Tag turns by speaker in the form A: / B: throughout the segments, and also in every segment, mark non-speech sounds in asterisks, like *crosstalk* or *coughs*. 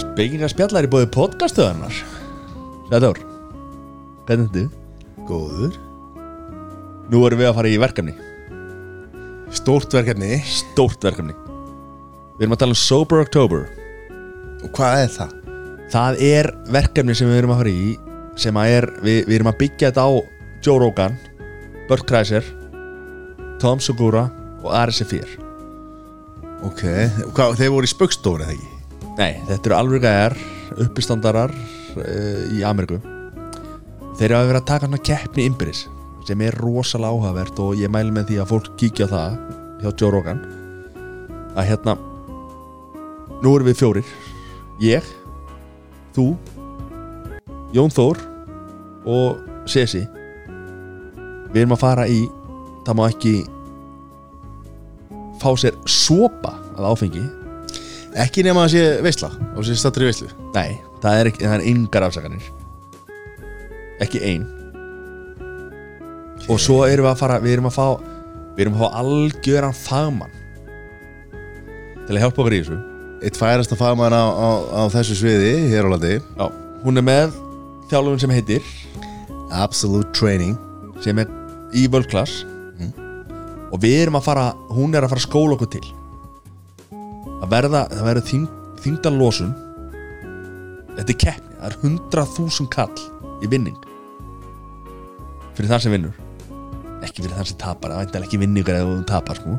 A: Spekinga spjallar í bóði podcastuðarnar Sæður Hvernig þetta?
B: Góður
A: Nú erum við að fara í verkefni
B: Stórt verkefni
A: Stórt verkefni Við erum að tala um Sober October
B: Og hvað er það?
A: Það er verkefni sem við erum að fara í sem að er, við, við erum að byggja þetta á Joe Rogan, Burt Kreischer Tom Segura og Ari Sefir
B: Ok, hvað, þeir voru í spöggstofun eða ekki?
A: Nei, þetta eru alveg gæjar uppistandarar uh, í Ameríku Þeir hafa verið að taka hann að keppni innbyrðis sem er rosalega áhugavert og ég mæli með því að fólk kíkja á það hjá Joe Rogan að hérna nú erum við fjórir ég, þú Jón Þór og Sesi við erum að fara í það má ekki fá sér sopa að áfengi
B: Ekki nema að sé veisla og sé stattur í veislu
A: Nei, það er, ekki, það er engar afsakanir Ekki ein Og svo erum við að fara Við erum að fá Við erum að fá algjöran fagmann Til að hjálpa okkur í þessu
B: Eitt færasta fagmann á, á, á þessu sviði hér á landi
A: Já, hún er með þjálfum sem heitir
B: Absolute Training
A: Sem er í World Class Og við erum að fara Hún er að fara að skóla okkur til Það verða, það verður þyng, þyngdarlosun Þetta er keppni Það er 100.000 kall í vinning Fyrir það sem vinnur Ekki fyrir það sem tapar Það væntar ekki vinningar eða þú tapar sko.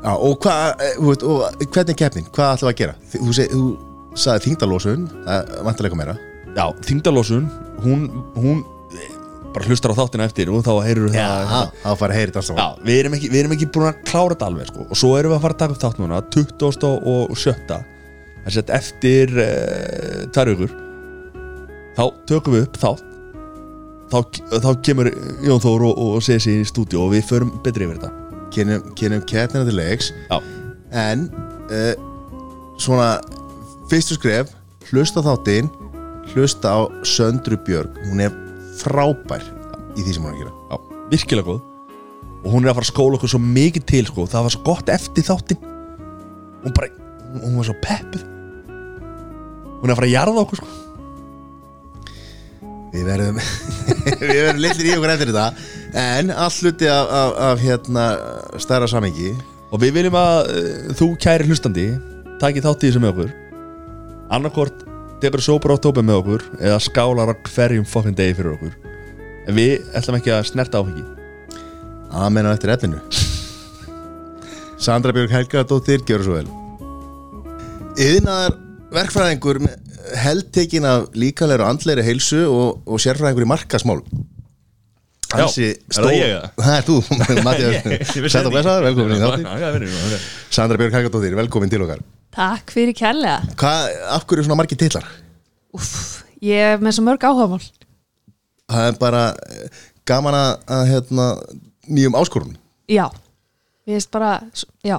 B: Já, og hvað, eh, þú veit, og hvernig er keppnin? Hvað ætlum við að gera? Þi- Þú, seg, þú sagði þingdalósun, það vantar eitthvað meira
A: Já, þyngdarlosun Hún, hún eh, bara hlustar á þáttina eftir Og þá heyrur það
B: Aha, þá fara að heyri þetta saman
A: Já, við erum ekki, við erum ekki búin að klára þetta alveg sko. og svo erum við að fara að taka upp þátt núna 20. og 7. þess að eftir e, tvær vikur þá tökum við upp þátt þá, þá kemur Jón Þór og, og segir sér í stúdíu og við förum betri yfir þetta
B: Kynum, kynum keppnina til leiks
A: Já,
B: En uh, svona fyrstu skref, hlusta á þáttinn hlusta á Söndru Björg hún er frábær í því sem hún er að gera
A: já, virkilega góð og hún er að fara að skóla okkur svo mikið til sko. það var svo gott eftir þáttin hún bara, hún- hún var svo peppuð hún er að fara að jarða okkur sko.
B: Við verðum *laughs* við verðum litlir í okkur eftir þetta en allt hluti af, af, af hérna stærra samingi
A: og við viljum að uh, þú kæri hlustandi taki þátt í þessu með okkur annarkort tekur sópar á tópa með okkur eða skálar á hverjum fokkin degi fyrir okkur en við ætlum ekki að snerta áfengi
B: Amen á eftir efninu Sandra Björg Helga dóttir, gjör svo vel Yðnaðar verkfræðingur með heldtekin af líkanlegur og andleiri heilsu og, og sérfræðingur í markasmál
A: Já, er það ég eða?
B: *laughs* Það
A: *laughs*
B: er þú, Matti Sætt og blessaður, velkomin í þáttir
A: þáttir
B: Sandra Björg Helga dóttir, velkomin til okkar
C: Takk fyrir kærlega.
B: Hvað, af hverju svona margir titlar?
C: Úff, ég er með svo mörg áhugamál.
B: Það er bara eh, gaman að, að hérna, nýjum áskorunum
C: Já, ég veist bara, já,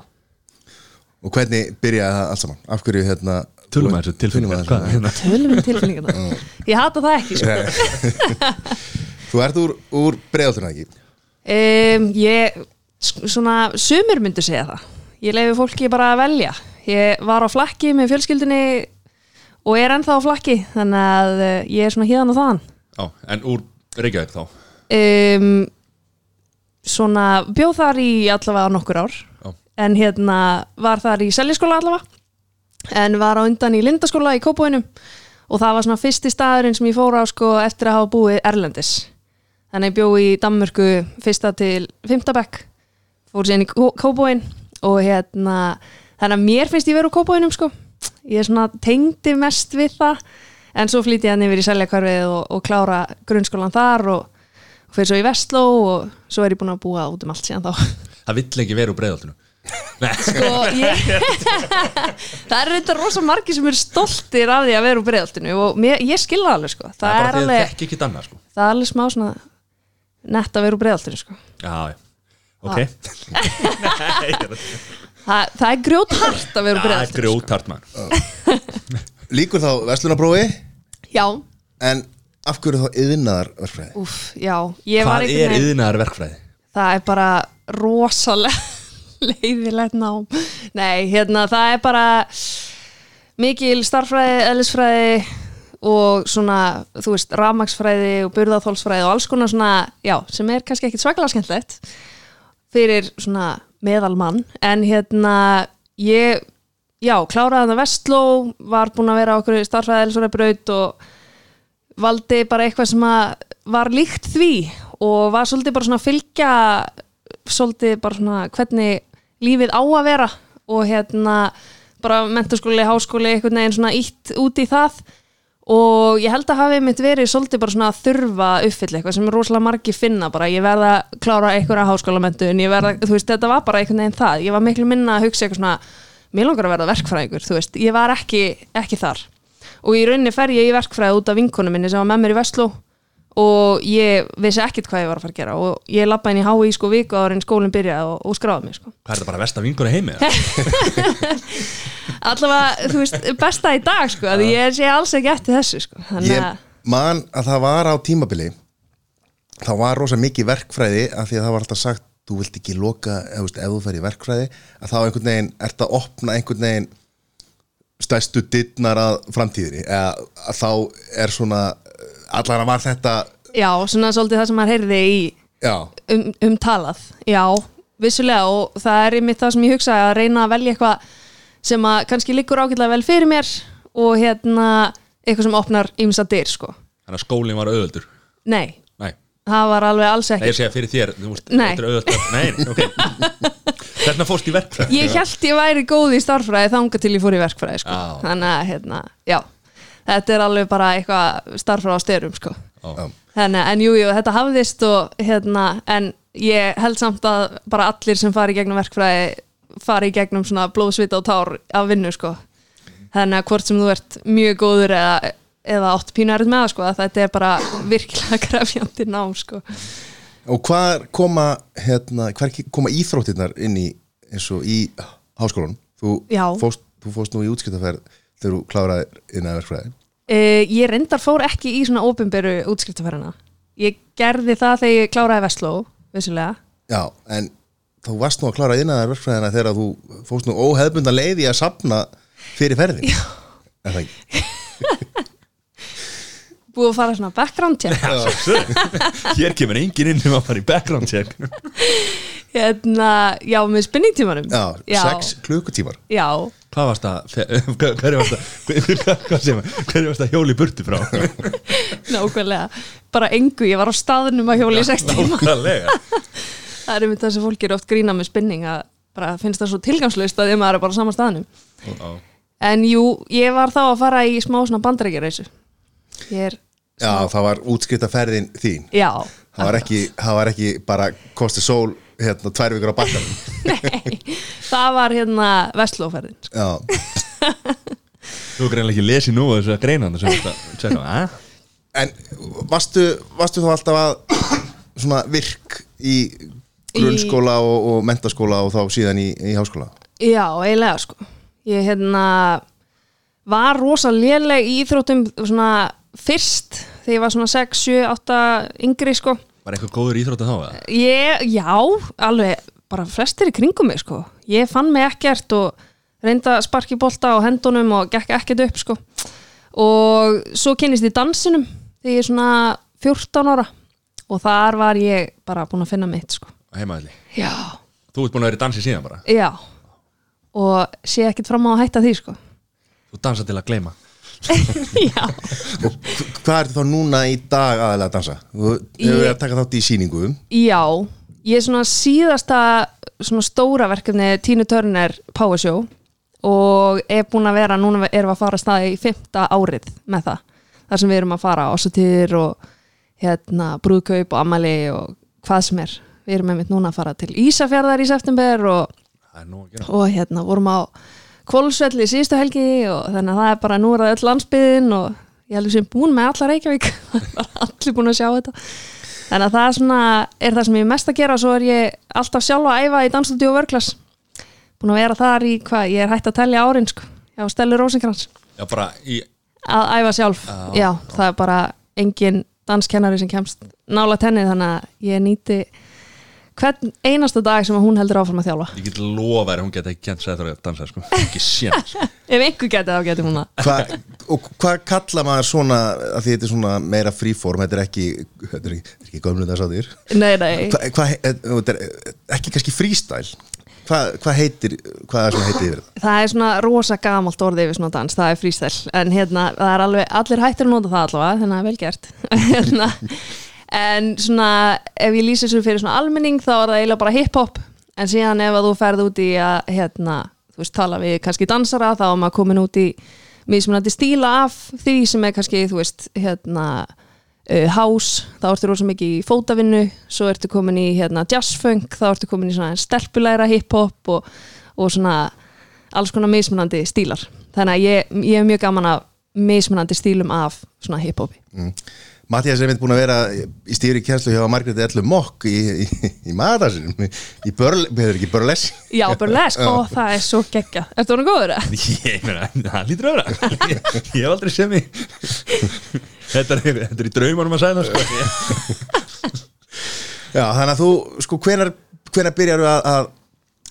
B: og hvernig byrjaði það allt saman af hverju hérna
A: Tölum að þessu tilfinnum
B: Tölum um að þessu.
C: tölum við tilfinningarna. Ég hata það ekki, sko.
B: Þú ert úr, úr bregðaltuna ekki
C: Um, ég, s- svona, sumir myndu segja það. Ég leifi fólki bara að velja. Ég var á flakki með fjölskyldinni og er ennþá á flakki, þannig að eh, ég er svona híðan og þaðan.
A: Já, en úr Reykjavík þá
C: Um, svona, bjóð þar í allavega nokkur ár.
A: Já.
C: en hérna var þar í seljaskóla allavega en var á undan í lindaskóla í Kópóinum og það var svona fyrsti staðurinn sem ég fór á sko eftir að hafa búið Erlendis þannig ég bjó í Danmörku fyrsta til fymta bekk fór síðan í Kó- Kópóin og hérna þannig að mér finnst ég vera úr Kópóinum sko ég er svona tengdi mest við það en svo flýti ég hann yfir í seljakvarfið og, og klára grunnskólan þar og, og fyrir svo í Vestló og svo er ég búin að búa út um allt síðan þá
D: *laughs* það vill ekki vera úr breyðaltinu
C: sko, ég, *laughs* það er reynda rosa margir sem eru stoltir af því að vera úr breyðaltinu og mér, ég skilða alveg sko. það,
D: það
C: er
D: bara því að
C: alveg,
D: þekki ekki annað sko.
C: það er alveg smá svona nett að vera úr breyðaltinu sko.
D: já, já. ok ah,
C: það, það er grjót hart að
D: það
C: vera úr sko.
D: er
C: breyðaltinu
D: grjótart mann
B: Líkur þá verslunaprófi
C: já,
B: en af hverju þá yðnaðar verkfræði
C: úf, já ég var
D: hvað
C: einhvern
D: er
C: veginn-
D: yðnaðar verkfræði?
C: það er bara rosalega *laughs* leiðilegt nám nei, hérna, það er bara mikil starffræði, ellisfræði og svona, þú veist, rafmaksfræði og burðaþólsfræði og alls konar svona já, sem er kannski ekkit svakalega skemmtilegt fyrir svona meðalmann, en hérna ég, já, kláraði það vestló, var búin að vera á okkur starffræði, ellisfræði braut og valdi bara eitthvað sem að var líkt því og var svolítið bara svona að fylgja svolítið bara svona hvernig lífið á að vera og hérna bara mentaskóli, háskóli, einhvern veginn svona ítt út í það og ég held að hafi mitt verið svolítið bara svona að þurfa að uppfylla eitthvað sem er rosalega margi finna bara, ég verða að klára einhverja háskólamentun, ég verða, þú veist, þetta var bara einhvern veginn það, ég var miklu minna að hugsa eitthvað svona, mér langar að verða verkfræðingur, þú veist, ég var ekki, ekki þar og í rauninni fer ég í verkfræði út af vinkonu minni sem var með mér í Vestló og ég vissi ekkit hvað ég var að fara að gera og ég lappa inn í HÍ sko viku ára en skólinn byrjaði og, og skráði mig sko
A: Hvað er þetta bara versta vingur að
C: *laughs*
A: heimi?
C: allavega, þú veist, besta í dag sko að ég sé alls ekki eftir þessu sko þannig að,
B: Ég man að það var á tímabili þá var rosa mikið verkfræði af því að það var alltaf sagt þú vilt ekki loka, ef, veist, ef þú fer í verkfræði að þá einhvern veginn, ert að opna einhvern veginn stærstu dittnar að framtíðinni eða að þá er svona allara var þetta
C: já, svona svolítið það sem maður heyrði í
B: já,
C: um, um talað, já vissulega og það er einmitt það sem ég hugsaði að reyna að velja eitthvað sem að kannski liggur ágætlega vel fyrir mér og hérna eitthvað sem opnar ímsa dyr sko,
A: Þannig að skólinn var auðvöldur
C: nei
A: Nei,
C: það var alveg alls
A: nei
C: ekki
A: ég segja fyrir þér þú veist,
C: Nei.
A: þetta er auðvöld Nei, nei, ok
C: *laughs*
A: Þarna fórst í verkfræð
C: ég held ég væri góð í starffræði þanga til ég fór í verkfræði sko.
A: Á.
C: þannig að hérna, já þetta er alveg bara eitthvað starffræði á styrum sko.
A: Já.
C: þannig að, en jú, jú, þetta hafðist og hérna, en ég held samt að bara allir sem fari í gegnum verkfræði fari í gegnum svona blóðsvita og tár af vinnu sko. þannig að hvort sem þú ert mjög góður eða, eða átt pínarið með það, sko, að þetta er bara virkilega *laughs* krefjandi nám sko.
B: og hvað koma hérna, hver koma íþróttirnar inn í eins og í háskólanum þú
C: Já.
B: fórst, þú fórst nú í útskiptaferð þegar þú kláraði inn að verkfræði
C: Uh, ég reyndar fór ekki í svona ópenberu útskriftaferðina. Ég gerði það þegar ég kláraði Vestló, vissulega.
B: Já, en þú varst nú að klára innaðar verkfræðina þegar þú fórst nú óhefbundan leið í að sapna fyrir ferðin Já Er það ekki?
C: Búið að fara svona
B: *laughs*
C: background check.
A: Hér kemur engin inn um að fara í background check
C: Hérna, já, með spinningtímanum.
B: Já,
C: já,
B: sex klukkutímar
C: Já,
A: Hvað varst að *laughs* Hverju varst að Hverju varst að hjóli burti
C: *laughs*
A: frá
C: nákvæmlega. Bara engu, ég var á staðnum að hjóla í sex tíma.
A: Nákvæmlega
C: Það er einmitt það sem fólk er oft grína með spinning að bara finnst það svo tilgangslöst að því að maður er bara á sama staðnum.
A: Já.
C: En jú, ég var þá að fara í smá svona bandarækjarreisu. Ég er,
B: Já, það var útskrifta ferðin þín
C: já. *laughs*
B: Það var ekki, það var ekki bara kosti sól hérna tvær vikur á bakkanum
C: Nei, það var hérna Vestlóferðin. Sko.
B: Já,
A: Þú er greinlega ekki lesið nú þessu að greina hann sem þetta Tjekka, að?
B: en varstu, varstu þá alltaf að svona virk í grunnskóla og, og mentaskóla og þá síðan í, í háskóla
C: Já, eiginlega sko Ég hérna var rosa léleg í íþróttum svona fyrst þegar ég var svona 6, 7, 8 yngri sko
A: Var eitthvað góður íþrótt að þá eða?
C: ég, Já, alveg bara flestir í kringum mig sko Ég fann mig ekkert og reynda að sparki bolta á hendunum og gekk ekkert upp sko og svo kynist ég dansinum þegar ég er svona 14 ára og þar var ég bara búin að finna mitt sko
A: Heimaðli
C: Já,
A: Þú ert búin að vera í dansi síðan bara
C: já og sé ekkert fram á að hætta því sko
A: Þú dansa til að gleyma
C: *laughs* Já,
B: Og hv- hvað ertu þá núna í dag aðalega að dansa? Þú hefur verið að taka þátt í um. sýningum
C: já ég er svona síðasta svona stóra verkefni Tínu Törner Power Show og er búin að vera, núna erum við að fara af stað í fymta árið með það þar sem við erum að fara ásatíðir og hérna, brúðkaup og amali og hvað sem er við erum einmitt núna að fara til Ísafjarðar í september og,
A: Það er nú að gera
C: og hérna vorum á Kvolsvelli síðustu helgi og þannig að það er bara nú er það öll landsbyðin og ég heldur sem búin með alla Reykjavík *laughs* bara allir búin að sjá þetta þannig að það er, svona, er það sem ég er mest að gera og svo er ég alltaf sjálf að æfa í dansstudio vörklas búin að vera þar í hvað ég er hægt að telja árin sko já, Stelli Rósinkrans
A: Já, bara í
C: að æfa sjálf, já, það er bara engin danskennari sem kemst nála tenni þannig að ég nýti hvern einasta dag sem að hún heldur áfram að þjálfa
A: Ég get lofa þér að hún geti ekki kent sæður að dansa sko. Ekki sér sko.
C: ef einhver geti þá geti hún það
B: Hva, og hvað kalla maður svona að því þetta er svona meira fríform þetta er ekki, þetta er ekki, þetta er ekki gömlunda sátir
C: nei, nei,
B: hva, hva, þetta er ekki kannski frístæl hvað hva heitir hvað er svona heitir yfir þetta
C: það er svona rosa gamalt orðið yfir svona dans, það er freestyle en hérna, það er alveg, allir hættir að nota það allavega þannig að það er vel gert *laughs* hérna. en svona, ef ég lýsi þessu fyrir svona almenning þá er það eiginlega bara hip-hop en síðan ef að þú ferð út í að hérna, þú veist, tala við kannski dansara þá er maður komin út í mismunandi stíla af því sem er kannski, þú veist, hérna uh, house, þá ertu rosa mikið í fótavinnu svo ertu komin í hérna, jazzfunk þá ertu komin í svona stelpulæra hip-hop og, og svona alls konar mismunandi stílar þannig að ég, ég er mjög gaman af mismunandi stílum af svona hip-hopi
B: Mattias Mm. er mynd búin að vera í stýri kjænslu hjá Margréti Ellu Mokk í, í, í, í maðarsinum í börl, hefur ekki börlesk
C: *laughs* Já, burlesk, ó það er svo geggja Ertu honum góður? eða?
A: Ég meina, það lítur að vera Ég ég hef aldrei sem í Þetta er, þetta er í draumanum að sæða sko.
B: Já, þannig að þú, sko, hvenar, hvenar byrjar að, að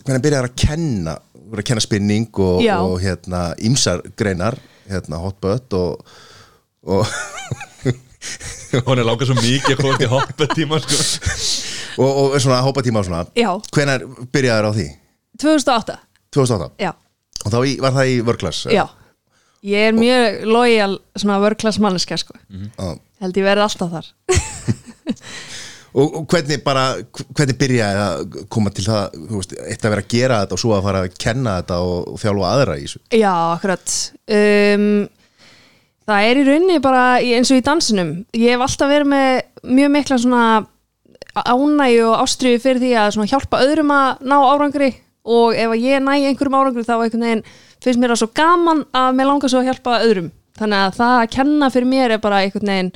B: hvenar byrjar að kenna þú voru að kenna spinning og,
C: Já.
B: og hérna, ymsar greinar hérna, hotbutt og, og,
A: Hún er láka svo mikið að komast í hoppetíma sko.
B: og, og svona hópatíma og svona
C: Já.
B: hvenar byrjaður á því?
C: 2008,
B: 2008
C: já,
B: og þá í, var það í vörglas
C: já Ég er mjög lojal svona vörklass manneska sko Held ég verið alltaf þar
B: og, og hvernig bara hvernig byrjaði að koma til það þú veist, eitt að vera að gera þetta og svo að fara að kenna þetta og, og þjálfa aðra í þessu
C: Já, akkurat um, Það er í rauninni bara í- eins og í dansinum Ég hef alltaf verið með mjög mikla svona ánægju og ástriðu fyrir því að svona hjálpa öðrum að ná árangri og ef að ég næ einhverjum árangri þá einhvern veginn finnst mér það svo gaman að mér langar svo að hjálpa öðrum þannig að það að kenna fyrir mér er bara einhvern veginn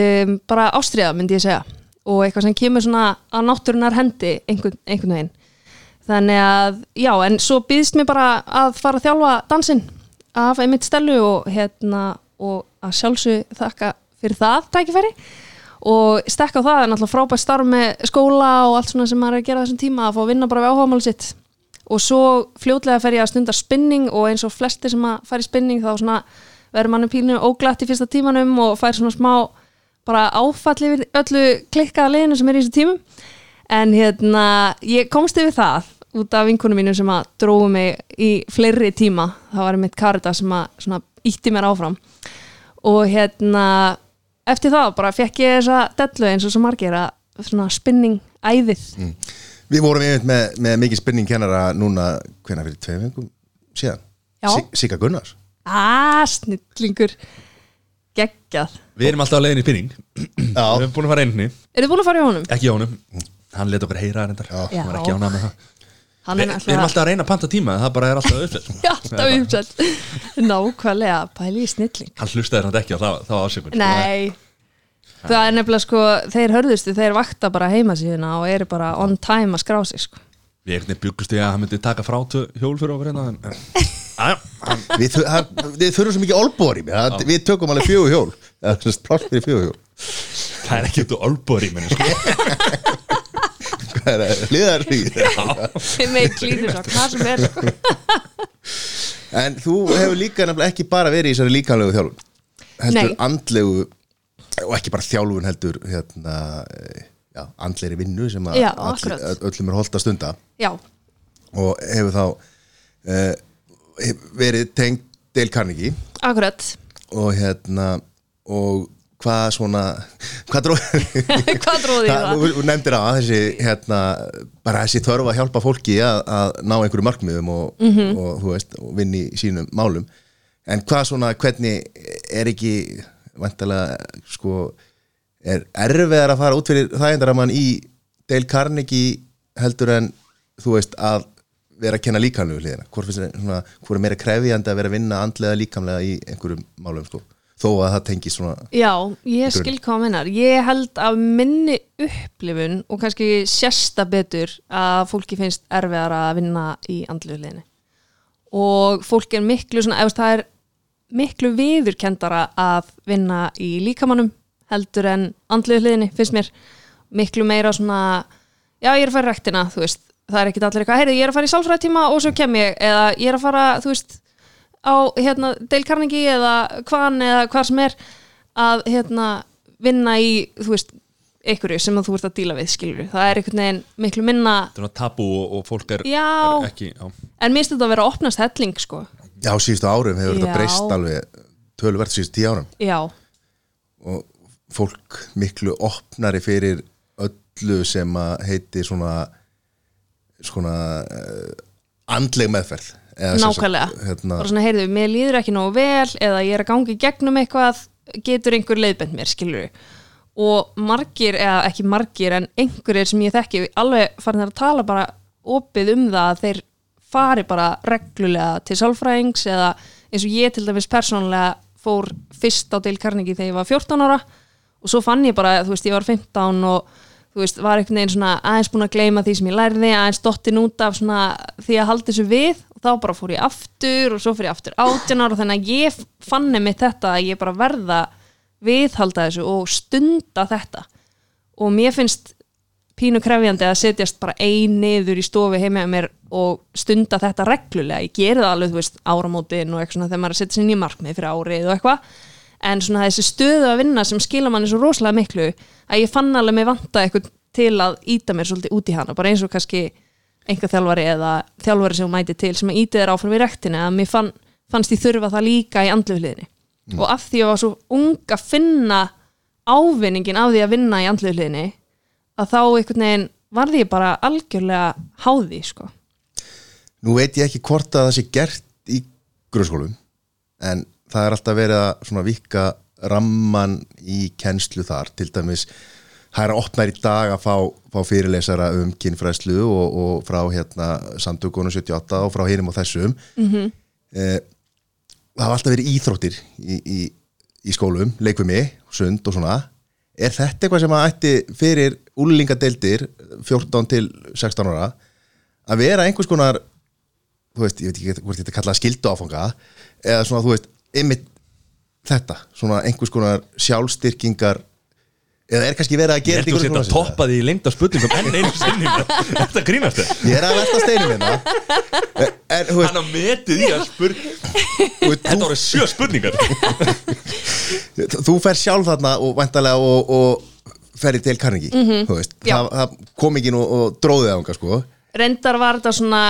C: um, bara ástriða myndi ég segja og eitthvað sem kemur svona að náttúrunar hendi einhvern, einhvern veginn þannig að já, en svo býðst mér bara að fara að þjálfa dansinn af einmitt stelu og hérna og að sjálfsög þakka fyrir það tækifæri og stekka á það er náttúrulega frábært starf með skóla og allt svona sem maður er að gera á þessum tíma að fá að vinna bara við áhugamál sitt og svo fljótlega fer ég að stunda spinning og eins og flesti sem að fara í spinning þá svona verður manni pínu óglatt í fyrsta tímanum og fær svona smá bara áfall yfir öllu klikkaða liðinu sem er í þessu tímum en hérna, ég komst yfir það út af vinkunum mínum sem að dróðu mig í fleiri tíma það var mitt karita sem að svona, ítti mér áfram og hérna eftir það bara fekk ég þessa dellu eins og svo margir að svona spinning æðið
A: Mm.
B: Við vorum einmitt með, með mikið spinning kennara núna, hvenær fyrir tveim vingum síðan,
C: Já.
B: Sig- Sigga Gunnars
C: að Ah, snillingur geggjað
A: Við erum alltaf að leiðin í spinning Við
B: Já,
A: erum búin að fara einni,
C: Eru þið búin að fara í honum?
A: ekki Jónum Hann let okkur heyra reyndar
B: Já.
A: Hann var ekki
C: Já.
A: ánað með það
C: Hann
A: Við
C: er
A: við erum alltaf að reyna að panta tíma Það bara er alltaf auðvitað sko.
C: *laughs* Já, alltaf
A: *laughs*
C: umsett Nákvæmlega, pæli í snilling
A: Hann hlustaði hann ekki á það, sko. það ásökun
C: Nei Það er nefnilega sko, þeir hörðustu, þeir vakta bara heimasíðuna og eru bara on time að skrá sig sko.
A: Við einhvern veginn byggust í að hann myndi taka frá hjól fyrir okkur hérna en- en-
C: *laughs*
A: Æja, hann-
B: við, þur, hann, við þurfum svo mikið olbóri við tökum alveg fjögur hjól *laughs* eða sem sagt pláss fyrir fjögur hjól
A: Það er ekki út úr olbori sko.
B: Hvað er það? hliðar því
C: Þeir með klítur svo, hvað sem er sko.
B: En þú hefur líka nefnilega ekki bara verið í þessari líkanlegu þjálfun heldur
C: Nei.
B: andlegu og ekki bara þjálfun heldur hérna, eh, já, andlegri vinnu sem að
C: Já,
B: all,
C: akkurat.
B: öllum er holdt að stunda
C: *laughs* Já,
B: og hefur þá uh, verið tengd Dale Carnegie
C: akkurat
B: og hérna og hvað svona hvað dró
C: *laughs*
B: *laughs*
C: Hvað dróði ég
B: Hvað-
C: það?
B: þú þú nefndir á þessi hérna, bara þessi þörf að hjálpa fólki að, að ná einhverju markmiðum og, og þú veist, og vinni í sínum málum en hvað svona, hvernig er ekki vantalega sko, er erfiðar að fara út fyrir þægindaramann í Dale Carnegie heldur en þú veist að vera að kenna líkamlegu hliðina hvort finnst þér svona, hvort er meira krefjandi að vera að vinna andlega líkamlega í einhverjum málum sko, þó að það tengist svona
C: Já, ég skil hvað hann minnar. Ég held að minni upplifun og kannski sérsta betur að fólki finnst erfiðar að vinna í andluleginni. Og fólk er miklu svona, eftir það er miklu viðurkendara að vinna í líkamannum heldur en andluleginni, finnst mér. Miklu meira svona, já ég er að fara í rektina þú veist, það er ekkit allir eitthvað heyrðu ég er að fara í sálfræðtíma og svo kem ég eða ég er að fara, þú veist á hérna Dale Carnegie eða hvan eða hvað sem er að hérna vinna í þú veist, einhverju sem að þú ert að díla við skilur, það er einhvern veginn miklu minna
A: þetta er tabu og, og fólk er,
C: Já.
A: er ekki já.
C: en mér stöðu að vera að opnast helling sko,
B: Já, síðustu árum hefur
C: Já.
B: þetta breyst alveg töluvert síðustu tíu árum
C: já
B: og fólk miklu opnari fyrir öllu sem að heiti svona svona uh, andleg meðferð eða sem sagt,
C: Nákvæmlega,
B: hérna,
C: bara svona heyrðu, mér líður ekki nógu vel eða ég er að ganga í gegnum eitthvað getur einhver leiðbend mér, skilur og margir, eða ekki margir en einhverjir sem ég þekki alveg farin að tala bara opið um það að þeir fari bara reglulega til sálfræðings eða eins og ég til dæmis persónlega fór fyrst á Dale Carnegie þegar ég var 14 ára og svo fann ég bara, þú veist, ég var 15 og þú veist, var einhvern veginn svona aðeins búin að gleyma því sem ég lærði, aðeins dottin út af svona því að haldi þessu við og þá bara fór ég aftur og svo fór ég aftur 18 ára þannig að ég fann einmitt þetta að ég bara verða viðhalda þessu og stunda þetta og mér finnst pínu krefjandi að setjast bara ein niður í stofi heima hjá mér og stunda þetta reglulega, ég geri það alveg þú veist áramótin og eitthvað svona þegar maður er að setja sér nýjum markmið fyrir árið og eitthvað en svona þessi stöðu að vinna sem skila manni svo rosalega miklu að ég fann alveg mig vanta eitthvað til að íta mér svolítið út í hana, bara eins og kannski einhver þjálfari eða þjálfari sem hún mæti til sem að íti þér áfram í rektinu að mér fann, fannst ég þurfa það líka í andluhliðinni og af því ég var svo ung að finna ávinningin af því að vinna í andluhliðinni að þá einhvern veginn varði ég bara algjörlega háði sko.
B: nú veit ég ekki hvort að það sé gert í grunnskólum en það er alltaf verið að svona vika ramman í kennslu þar til dæmis það er að opna í dag að fá, fá fyrirlesara um kynfræslu og, og frá hérna samtökunum 78 og frá hinum og þessum mm -hmm. það hafa alltaf verið íþróttir í, í, í skólum, leikvimi, sund og svona er þetta eitthvað sem að ætti fyrir úlingadeildir 14 til 16 ára að vera einhvers konar þú veist, ég veit ekki hvort þetta kallað skildu áfanga eða svona, þú veist, einmitt þetta, svona einhvers konar sjálfstyrkingar eða er kannski verið að
A: ég
B: gera
A: held þú
B: þetta í
A: sétt að
B: grunnskóla-
A: toppa því lengda spurningum enn einu sinni
C: *laughs*
A: þetta grínast þér
B: ég er að velta steinum hérna
A: *laughs*
B: En- en, þú veist,
A: hann á metið í að spur
B: þú veist,
A: þetta voru sjö spurningar
B: þú, þú fer sjálf þarna og væntalega og, og ferði til Carnegie þú veist,
C: Mhm. Já.
B: það, það kom ekki nú og dróði það unga sko
C: reyndar var þetta svona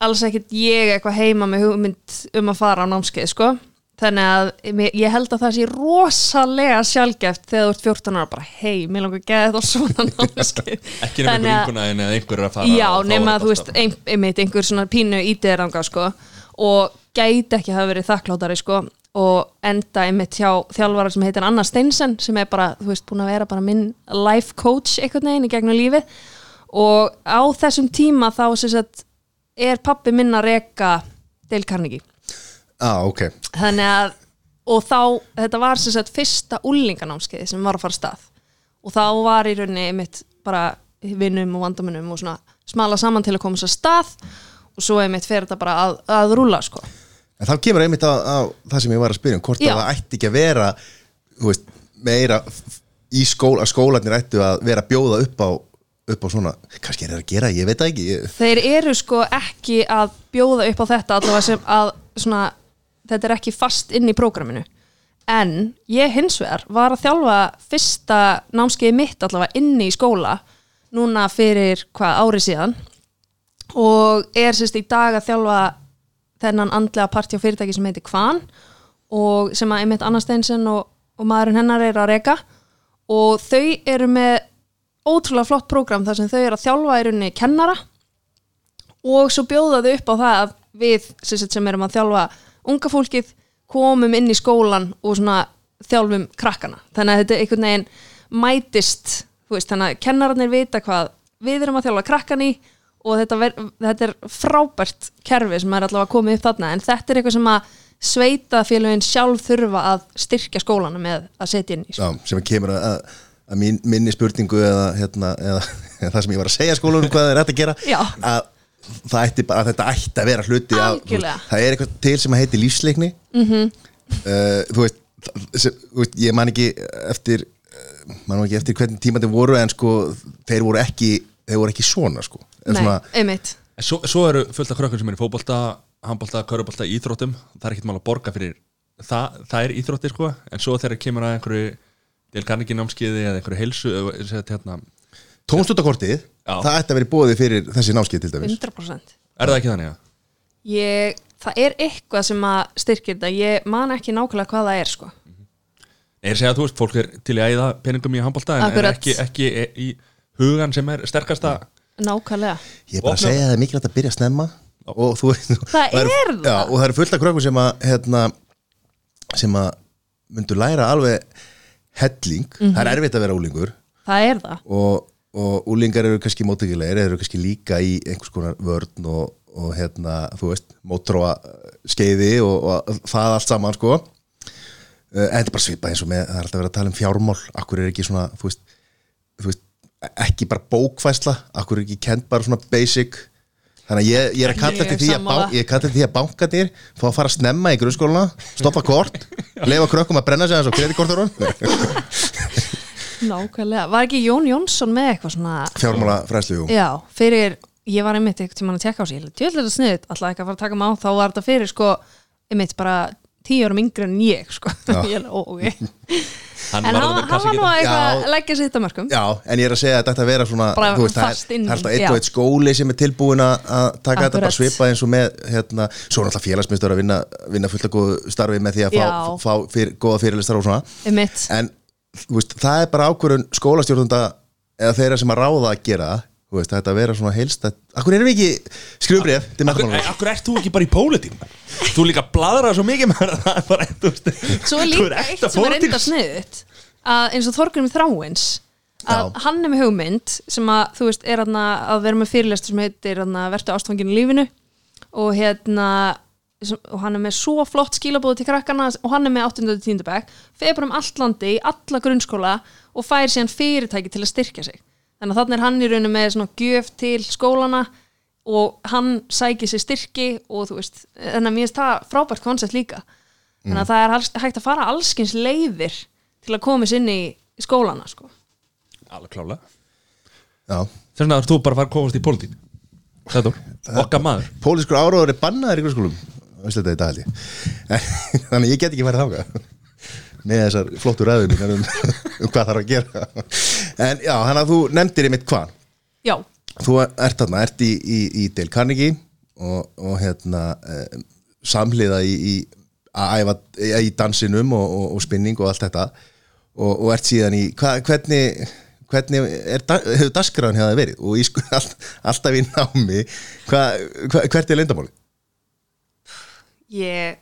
C: alls ekkert ég eitthvað heima með hugmynd um að fara á námskeið sko þannig að mér- ég held að það sé rosalega sjálfgeft þegar þú ert 14 ára bara hei, mér langar að geða þetta
A: *laughs*
C: á svona námskeið
A: ekki nema einhver vinkuna þín eða einhver er að fara
C: Já,
A: og þá er
C: nema
A: þetta
C: þú veist,
A: alltaf-
C: ein- einmitt einhver svona pínu ídýranga sko og gæti ekki hafa verið þakklátari sko og enda einmitt hjá þjálfara sem heitir Anna Steinsen sem er bara, þú veist, búin að vera bara minn life coach einhvern veginn í gegnum lífið og á þessum tíma þá sem sagt er pappi minn að reka Dale Carnegie
B: ah, ok,
C: þannig að og þá, þetta var sem sagt fyrsta úlinganámskeið sem var að fara af stað og þá var í rauninni einmitt bara vinnum og vandamunum og svona smala saman til að koma sér af stað og svo einmitt fer þetta bara að, að rúla sko.
B: en þá kemur einmitt á, á það sem ég var að spyrja um, hvort
C: Já.
B: að það ætti ekki að vera þú veist, meira f- í skóla, skólanir ættu að vera að bjóða upp á, upp á svona, kannski er það að gera ég veit það ekki, ég,
C: þeir eru sko ekki að bjóða upp á þetta allavega sem að svona, þetta er ekki fast inn í prógraminu en ég hins vegar var að þjálfa fyrsta námskeið mitt allavega inni í skóla núna fyrir hvað ári síðan og er sérst í dag að þjálfa þennan andlega partí á fyrirtæki sem heitir Kvan og sem að einmitt Anna Steinsen og, og maðurinn hennar er að reka og þau eru með ótrúlega flott prógram þar sem þau eru að þjálfa í rauninni kennara og svo bjóða þau upp á það að við sem, sagt, sem erum að þjálfa unga fólkið komum inn í skólan og svona þjálfum krakkana þannig að þetta einhvern veginn mætist þú veist, þannig að kennararnir vita hvað við erum að þjálfa krakkan í og þetta, ver, þetta er frábært kerfi sem er allavega komið upp þarna en þetta er eitthvað sem að sveitafélögin sjálf þurfa að styrkja skólana með að setja inn í sko.
B: já, sem að kemur að, að, að mín, minni spurningu eða, hérna, eða, *laughs* eða það sem ég var að segja skólanum hvað það er hægt að gera
C: Já.
B: að það ætti bara, að þetta ætti að vera hluti af, þú
C: Algjörlega.
B: veist,
C: Mhm.
B: það er eitthvað til sem að heiti lífsleikni mm þú, veist, það- sem, þú veist ég man ekki eftir eh, man nú ekki eftir hvernig tíma þeir voru en sko þeir voru ekki þeir voru ekki svona sko Eða
C: Nei,
B: svona,
C: einmitt
A: En svo, svo eru fullt af krökkum sem er í fótbolta, handbolta, körubolta, íþróttum það er ekkert mál að borga fyrir það, það er íþrótti sko, en svo þegar kemur að einhverju del kanningin námskiði eða einhverju heilsu eða, eða, hérna,
B: tónstutakortið,
A: Já.
B: það ætti að vera bóði fyrir þessi námskeið til dæmis
C: 100%
A: er það ekki þannig að?
C: ég, Það er eitthvað sem að styrkir þetta Ég man ekki nákvæmlega hvað það er sko.
A: Nei, ég er að segja að þú veist, fólk er til í að æða peningum í handbolta en, en
C: Akkurat.
A: ekki, ekki í hugan sem er sterkasta
C: Nákvæmlega
B: Ég er bara að
A: Opna-
B: segja að það er mikilvægt að byrja snemma og þú veist
C: Það er það.
B: Já, og það eru fullt af krökkum sem að hérna, sem að myndu læra alveg helling það er
C: Mhm.
B: erfitt að vera úlingur
C: Það er það
B: og, og úlingar eru kannski móttökilegir eru kannski líka í einhvers konar vörn og, og hérna, þú veist mótróa skeiði og, og það allt saman sko Eh, en þetta er bara svipað eins og með það er alltaf verið að tala um fjármál akkur er ekki svona, þú veist, þú veist ekki bara bókfæsla akkur er ekki kent bara svona basic þannig að ég, ég er að kalla
C: Ég
B: til því að,
C: sammála.
B: bán, ég kalla til því að bankanir fá að fara að snemma í grunnskóluna stoppa kort,
C: *laughs*
B: leifa krökkum að brenna sig aðeins og kredikortur
C: Nákvæmlega Var ekki Jón Jónsson með eitthvað svona
B: fjármála fræslu, jú
C: Já, fyrir, ég var einmitt einhvern tímann að tjekka á sig, ég held, djöðlega sniðið, alltaf ekki að fara að taka mig á, þá var þetta fyrir, sko, einmitt bara tíu árum yngri en ég, sko, *laughs* ég held, ó, ok.
A: hann
C: En hann,
A: varð að vera
C: hann var
A: kannski
C: nú
A: ekki-
C: eitthvað
B: Já.
C: að leggja sitt að mörgum.
B: Já, en ég er að segja að þetta vera svona
C: Bara
B: þú veist, það er-
C: fast inn í,
B: Það er alltaf eitt
C: já.
B: og eitt skóli sem er tilbúin að að taka þetta bara
C: Akkurat.
B: svipað eins og með hérna, svo er alltaf félagsmyndstöður að vinna, vinna fullt að góðu starfi með því að fá,
C: Já.
B: fá fyr, góða fyrirlistar og svona
C: Einmitt,
B: en þú veist, það er bara ákvörun skólastjórnunda eða þeirra sem að ráða að gera það, þú veist, þetta vera svona heilstætt Akkur erum við ekki skrifbref til
A: Akkur,
B: menntamálar
A: akkur ert þú ekki bara í pólitík? maður? Þú líka bladrar svo mikið maður, það er bara, þú veist
C: svo
A: þú
C: er
A: er
C: líka
A: ekta
C: eitt sem er
A: pólitísk.
C: enda sniðið, að eins og Þorgrunum Þráins, að
B: Já.
C: hann er með hugmynd sem að, þú veist, er hann að vera með fyrirlestur sem heitir hann að vertu ástfanginu lífinu og hérna sem- og hann er með svo flott skilabóð til krakkana og hann er með 8. og 10. bekk fer bara um allt landi, í alla grunnskóla og fær síðan fyrirtæki til að styrkja sig þannig að þannig er hann í rauninu með svona gjöf til skólana og hann sækir sér styrki og þú veist, þannig að mér finnst það frábært koncept líka þannig að það er alls, hægt að fara allskins leiðir til að komis inn í skólana sko.
A: Alveg klálega
B: Já,
A: Þess vegna er þú bara að fara að komast í pólitík Þetta er okkar maður
B: pólískur áróður er bannaður í grunnskólum Veistu þetta í dag held ég. En- *laughs* Þannig að ég get ekki farið þáka með þessar flottu ræðum mínar um, *laughs* um hvað þarf að gera En já, þannig að þú nefndir einmitt hvað
C: já,
B: Þú ert þarna, ert í, í, í Dale Carnegie og, og hérna eh, samhliða í, í að æfa eh, í dansinum og, og, og spinning og allt þetta og, og ert síðan í, hva, hvernig hvernig er, da- hefur dagskráin hefði verið og í, sku- *laughs* all, alltaf í námi hva, hva, hvert er leyndamáli?
C: ég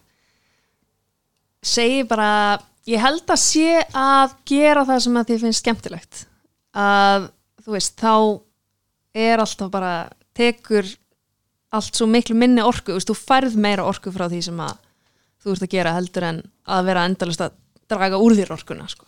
C: segi bara ég held að sé að gera það sem að þið finnst skemmtilegt að þú veist þá er alltaf bara tekur allt svo miklu minni orku þú veist, þú færð meira orku frá því sem að þú ert að gera heldur en að vera endalist að draga úr þér orkuna sko.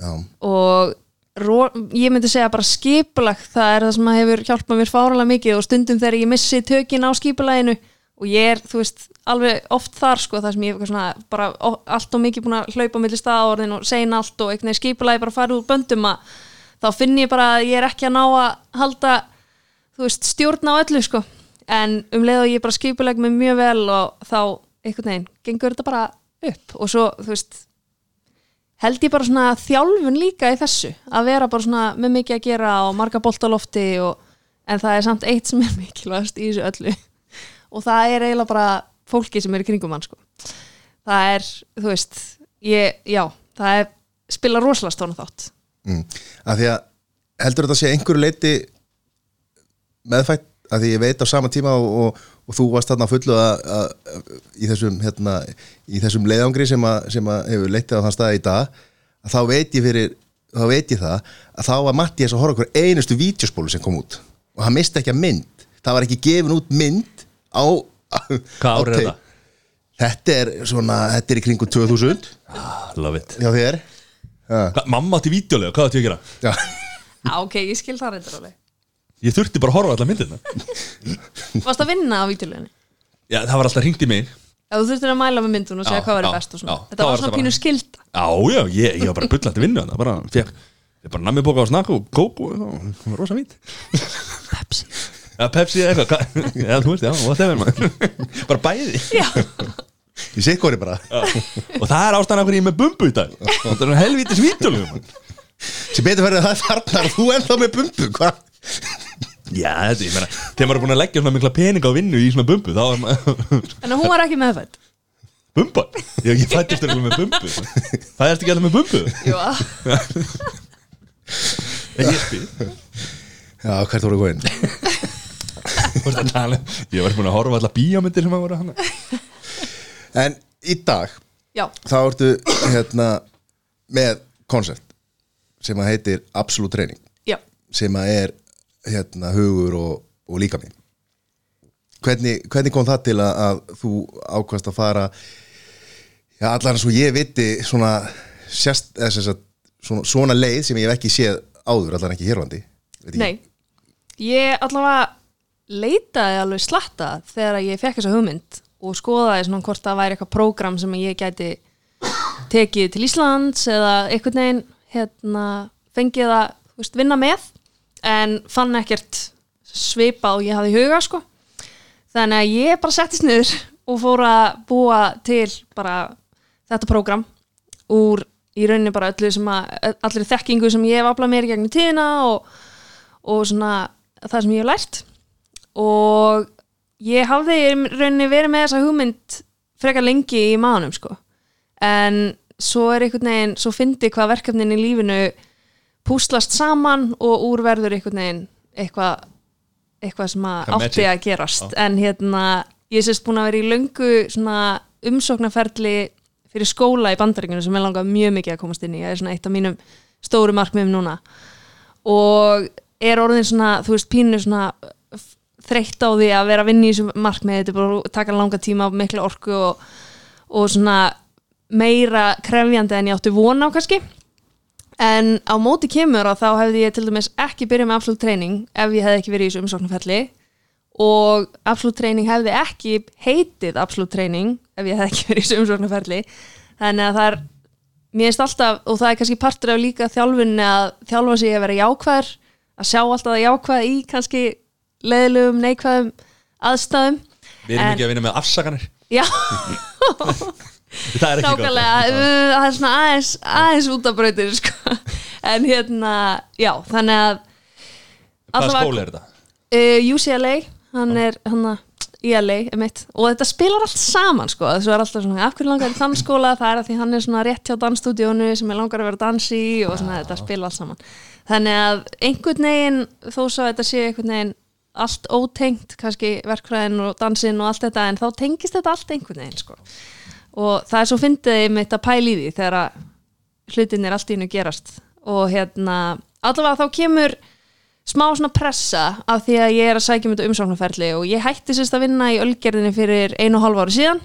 B: Já,
C: og ro, ég myndi segja bara skipulag það er það sem að hefur hjálpað mér fáralega mikið og stundum þegar ég missi tökin á skipulaginu og ég er, þú veist, alveg oft þar sko, það sem ég er eitthvað svona bara o- allt og mikið búin að hlaupa milli staðorðin og segna allt og einhvern veginn skipulagi bara farið úr böndum að þá finn ég bara að ég er ekki að ná að halda þú veist, stjórna á öllu sko en um leið og ég bara skipuleg mig mjög vel og þá einhvern veginn gengur þetta bara upp og svo, þú veist held ég bara svona þjálfun líka í þessu að vera bara svona með mikið að gera og marga boltalofti og en það er samt eitt sem er *laughs* mikilvægast í þessu öllu og það er eiginlega bara fólki sem er í kringum hann sko það er, þú veist ég, já, það er spila rosalega stóna þátt
B: mm. að því að heldur þetta að sé að einhverju leiti meðfætt að því ég veit á sama tíma og, og, og þú varst þarna á fullu að, að, í, þessum, hérna, í þessum leiðangri sem, að, sem að hefur leitið á þann stað í dag að þá veit ég fyrir þá veit ég það að þá var Mattias að horfa okkur einustu vítjóspólu sem kom út og hann misti ekki að mynd það var ekki gefin út mynd á
A: Hvað ár er
B: þetta? Þetta er svona, þetta er í kringum 2000
A: Ah, Love it
B: hjá þér
A: Hva, Mamma átti vídeolega, hvað átti ég að gera?
B: Já
C: Já, ok, ég skil það reyndar alveg
A: Ég þurfti bara að horfa á allar myndina
C: Varst að vinna á vítuleginni?
A: Já, það var alltaf hringt í mig
C: Já, þú þurftir að mæla með myndun og segja
A: Já,
C: hvað
A: já,
C: verið best og svona
A: já.
C: Þetta
A: Þá
C: var
A: var
C: svona
A: þetta
C: pínu
A: bara-
C: skilda
A: Já, já, ég, ég var bara bullandi vinnu Það bara fekk ég bara nammi bóka á snakk og kók og eitthvað, rosa fínt
C: Pepsi
A: eða Pepsi eða eitthvað, hvað- *laughs* eða þú veist, já, og það er maður bara bæði
C: Já,
B: Ég sé hvori bara
A: og það er ástæðan af hverju ég er með bumbu í dag þetta er nú helvítið svítulum
B: Sem betur verið að það er þarna Þú ennþá með bumbu, hvað?
A: já, þetta, ég meina, þegar maður er búin að leggja svona mikla pening á vinnu í svona bumbu þá er maður,
C: en hún var ekki meðfætt
A: *laughs* bumba ég, ég fættist alveg með bumbu fættist ekki alveg með bumbu
C: Jú,
A: ekki ég spyr
B: Já, hvert voru góðin?
A: Þú veist að tala um- ég var búin að horfa alltaf bíómyndir sem að voru hann
B: En í dag
C: já,
B: þá ertu hérna með koncept sem að heitir Absolute Training
C: já
B: sem að er hérna hugur og, og líka minn hvernig, hvernig kom það til að, að þú ákvæmst að fara já allan svo ég viti svona, sérst, eða, sem sagt, svona, svona leið sem ég hef ekki séð áður allan ekki hérlandi Veit ekki.
C: Nei, ég allavega leitaði alveg slatta þegar ég fekk þessa hugmynd og skoðaði svona hvort það væri eitthvað prógram sem ég gæti tekið til Íslands eða einhvern veginn hérna, fengið að þú veist, vinna með en fann ekkert svipa og ég hafði í huga sko þannig að ég bara settist niður og fór að búa til bara þetta prógram úr í rauninni bara öllu sem að allir þekkingu sem ég hef aflað mér í gegnum tíðina og, og svona það sem ég hef lært og ég hafði í rauninni verið með þessa hugmynd frekar lengi í maðanum sko en svo er einhvern veginn svo fyndi hvað verkefnin í lífinu púslast saman og úr verður einhvern veginn eitthvað eitthvað sem að
A: Það er
C: átti
A: magic.
C: að gerast en hérna ég sést búin að vera í löngu svona umsóknarferli fyrir skóla í bandaríkinu sem ég langar mjög mikið að komast inn í það er svona eitt af mínum stóru markmiðum núna og er orðin svona þú veist pínu svona f- þreytt á því að vera að vinna í þessu markmiði þetta er bara að taka langa tíma og mikla orku og, og svona meira krefjandi en ég átti vona á kannski en á móti kemur að þá hefði ég til dæmis ekki byrjað með absolutt treyning ef ég hefði ekki verið í þessu umsóknarferli og absolutt treyning hefði ekki heitið absolutt treyning ef ég hefði ekki *laughs* verið í þessu umsóknarferli þannig að það er mér finnst alltaf, og það er kannski partur af líka þjálfunni að þjálfa sig að vera jákvæður að sjá alltaf að jákvæða í kannski leiðlugum, neikvæðum aðstæðum
A: við erum
C: En-
A: ekki að vinna með afsakanir
C: já,
A: það er ekki gott
C: nákvæmlega uh, það er svona aðeins, aðeins út af brautir sko. en hérna, já, þannig að
A: hvaða
C: allavega-
A: skóla er þetta?
C: uh, UCLA hann er hann að ILA emitt. og þetta spilar allt saman sko. þessu er alltaf svona, af hverju langar í tannskóla það er að því hann er svona rétt hjá dansstúdíónu sem er langar að vera að dansi í og svona þetta spilar allt saman þannig að einhvern veginn þó svo að þetta sé einhvern veginn allt ótengt, kannski verkfræðin og dansinn og allt þetta, en þá tengist þetta allt einhvern veginn sko. og það er svo fyndið mitt að pæla í því þegar að hlutin er allt í hennu gerast og hérna, allavega þá kemur smá svona pressa af því að ég er að sækja um þetta umsáknarferli og ég hætti sérst að vinna í ölgerðinni fyrir einu og hálf ári síðan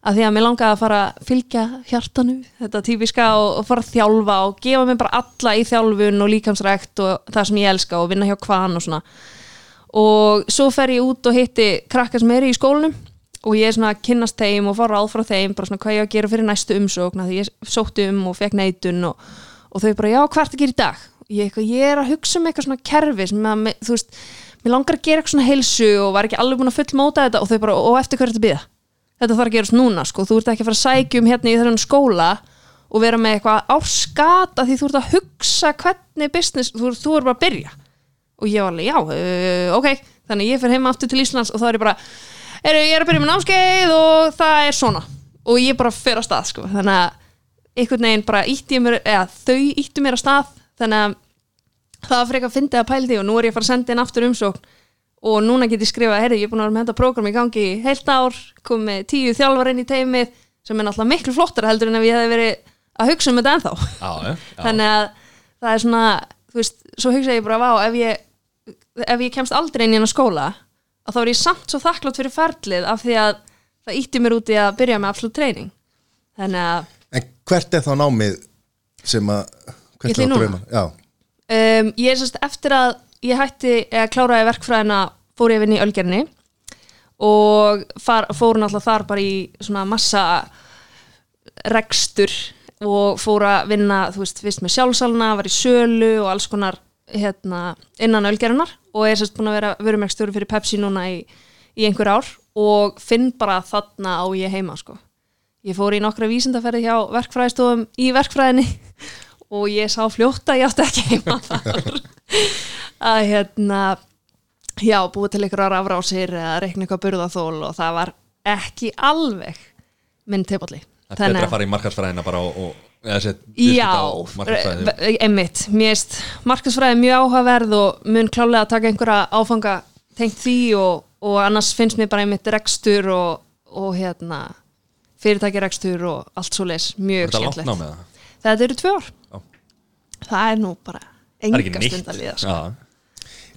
C: af því að mér langaði að fara að fylgja hjartanu, þetta típiska og, og fara að þjálfa og gefa mér bara alla í þjálfun og líkamsrækt og það sem ég elska og vinna hjá hvaðan og svona og svo fer ég út og hitti krakka sem eru í skólanum og ég er svona að kynnast þeim og fara ráð frá þeim bara svona hvað ég á að gera fyrir næstu umsókn af því ég sótti um og fekk neitun og, og þau bara já hvað ertu að gera í dag ég, eitthvað, ég er að hugsa um eitthvað svona kerfi sem að, mig- þú veist, mér langar að gera eitthvað svona heilsu og var ekki alveg búin að fullmóta þetta og þau bara og eftir hverju þetta býða þetta þarf að gerast núna sko, þú ert ekki að fara að sækja um hérna í þennan skóla og vera með eitthvað áskata því þú ert að hugsa hvernig business, þú, þú er bara að byrja og ég var alveg, já, uh, ok þannig að ég fer heima aftur til Íslands og þá er ég bara er, ég er að byrja með námskeið og það er svona og ég bara fer að stað sko. þannig að einhvern veginn bara ítti ég mér eða þau íttu mér að stað þannig að það var frekar að fyndi að pæla því og nú er ég að fara að senda inn aftur umsókn og núna get ég skrifað, heyrðu, ég er búin að vera með þetta prógram í gangi í heilt ár, kom með tíu þjálfar inn í teimið sem er náttúrulega miklu flottar heldur en ef ég hefði verið að hugsa um þetta ennþá
A: já, já, já.
C: þannig að það er svona þú veist, svo hugsa ég bara vá ef ég, ef ég kemst aldrei inn í hennar skóla að þá er ég samt svo þakklátt fyrir ferlið af því að það ítti mér út í að byrja með absolutt treyning þannig að
B: En hvert er þá námið sem að hvert
C: Ég
B: er
C: ætla í
B: þá
C: núna.
B: draumar? Já,
C: um, ég er sérst eftir að ég hætti að kláraði verkfræðina fór ég að vinna í Ölgerni og far, fór náttúrulega þar bara í svona massa rekstur og fór að vinna, þú veist, fyrst með sjálfsalna, var í sölu og alls konar hérna, innan ölgerunar og er sérst búin að vera vörumekstjóri fyrir Pepsi núna í, í einhver ár og finn bara að þarna á ég heima sko. Ég fór í nokkra vísindaferði hjá verkfræðistofum í verkfræðinni *laughs* og ég sá fljótt að ég átti ekki heima þar *laughs* að hérna já, búið til einhverjar afrásir eða reikna eitthvað burðaþól og það var ekki alveg minn teipalli
A: Það er betra að fara í markarsfræðina bara og, og eða sett
C: Já,
A: markarsfræði
C: re- einmitt Mér veist, markaðsfræði er mjög áhugaverð og mun klálega að taka einhverja áfanga tengt því og, og annars finnst mér bara einmitt rekstur og, og hérna fyrirtæki rekstur og allt svo leis mjög
A: Þetta langt
C: skemmtilegt.
A: ná með það
C: Þetta eru tvö ár
A: Já.
C: Það er nú bara
A: Það er ekki
C: enga stund að líða
A: nýtt
C: sko.
A: Já.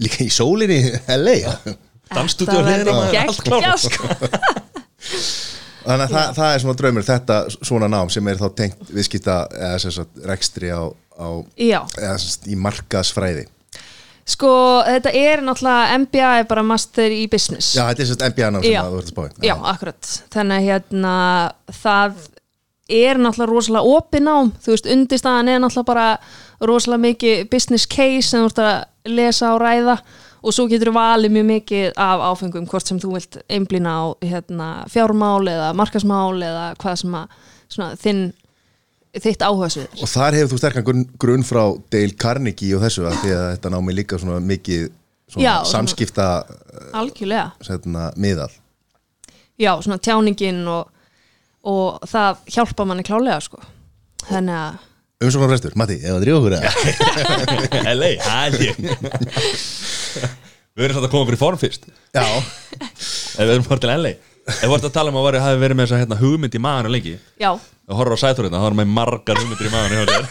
B: Líka í sólinni í LA ja.
A: Dansstúdíó hliðina á maður, allt klárt.
C: geggjað, sko.
B: Þannig að það, það er svona draumur þetta svona nám sem er þá tengt viðskipta eða sem sagt rekstri á, á
C: Já
B: eða sem sagt í markaðsfræði
C: Sko, þetta er náttúrulega MBA er bara master í business
B: Já, þetta er sem sagt MBA nám sem
C: Já.
B: að þú ert að spáði
C: Já, akkurat. Þannig að hérna, það er náttúrulega rosalega opið nám, þú veist, undirstaðan er náttúrulega bara rosalega mikið business case sem þú ert að lesa og ræða og svo getur þú valið mjög mikið af áfengum hvort sem þú vilt einblýna á hérna, fjármál eða markasmál eða hvað sem að svona, þinn, þitt áhugasvið er.
B: Og þar hefur þú sterkan grunn, grunn frá Dale Carnegie og þessu að því að þetta námi líka svona mikið svona
C: Já, svona-
B: samskipta
C: Algjörlega.
B: svona, miðal
C: já, svona tjáningin og, og það hjálpa manni klálega sko. þannig að
B: Umsóknar restur, Matti, ef það drífa okkur eða
A: LA, hæli Við erum svolítið að koma okkur í form fyrst ef
B: Já,
A: við erum fór til LA Ef við erum að tala um að væri- hafi verið með þess að hérna, hugmynd í maðurinn lengi
C: já,
A: og horfður á sæþurinn þá erum við margar hugmyndir í maðurinn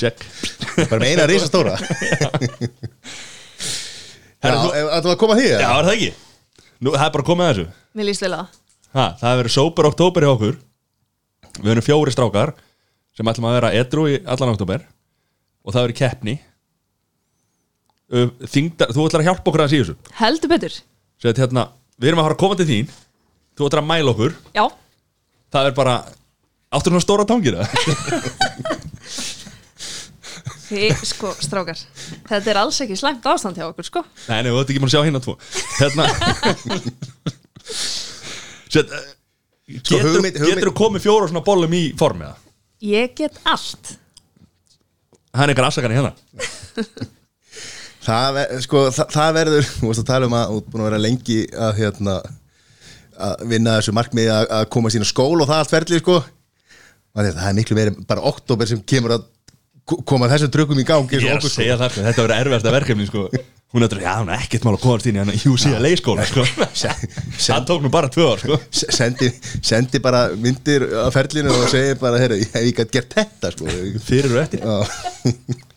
A: Check
B: bara með eina *laughs* risastóra Já,
A: Herra, þú-
B: ef þetta var að koma að því
A: Já,
B: eða?
A: er það ekki? Nú, það er bara komið að þessu
C: mér líst vel á það
A: ha, Það hefur verið sóper oktober hjá okkur Við erum fjóri strákar sem ætlum að vera edru í allan oktober og það verið keppni Ö, Þingdar, þú ætlar að hjálpa okkur að þessu
C: heldur betur,
A: Sér að hérna, við erum að fara að koma til þín Þú ætlar að mæla okkur
C: já,
A: Það er bara, áttu svona stóra tangir *laughs* eða?
C: þið sko strákar þetta er alls ekki slæmt ástand hjá okkur sko
A: Nei, nei, þú ert ekki maður að sjá hérna tvo *laughs* Hérna Sér að eh,
B: Sko,
A: Getur,
B: hugmynd- hugmynd-
A: getur komið fjóra svona bollum í form eða?
C: ég get allt
A: Það er einhver afsakani hérna
B: Það, ver- sko, það, það verður, þú veist að tala um að þú ert búin að vera lengi að, hérna, að vinna þessu markmiði að, að koma sín á skól og það allt verðli sko. Af því að Það er miklu verið bara oktober sem kemur að ko- koma þessum drökkum í gangi eins
A: Ég
B: og
A: er að
B: okkur, sko.
A: segja það, sko, þetta verður erfiðasta verkefni sko. Hún er að já, hún er ekkert mál að komast inn í hann UCLA skóla *laughs* sko. Það tók nú bara tvö ár sko.
B: S- sendi, sendi bara myndir af ferlinu og segi bara heyrðu, ég hef ekki gert þetta sko.
A: Fyrir og eftir
B: Já.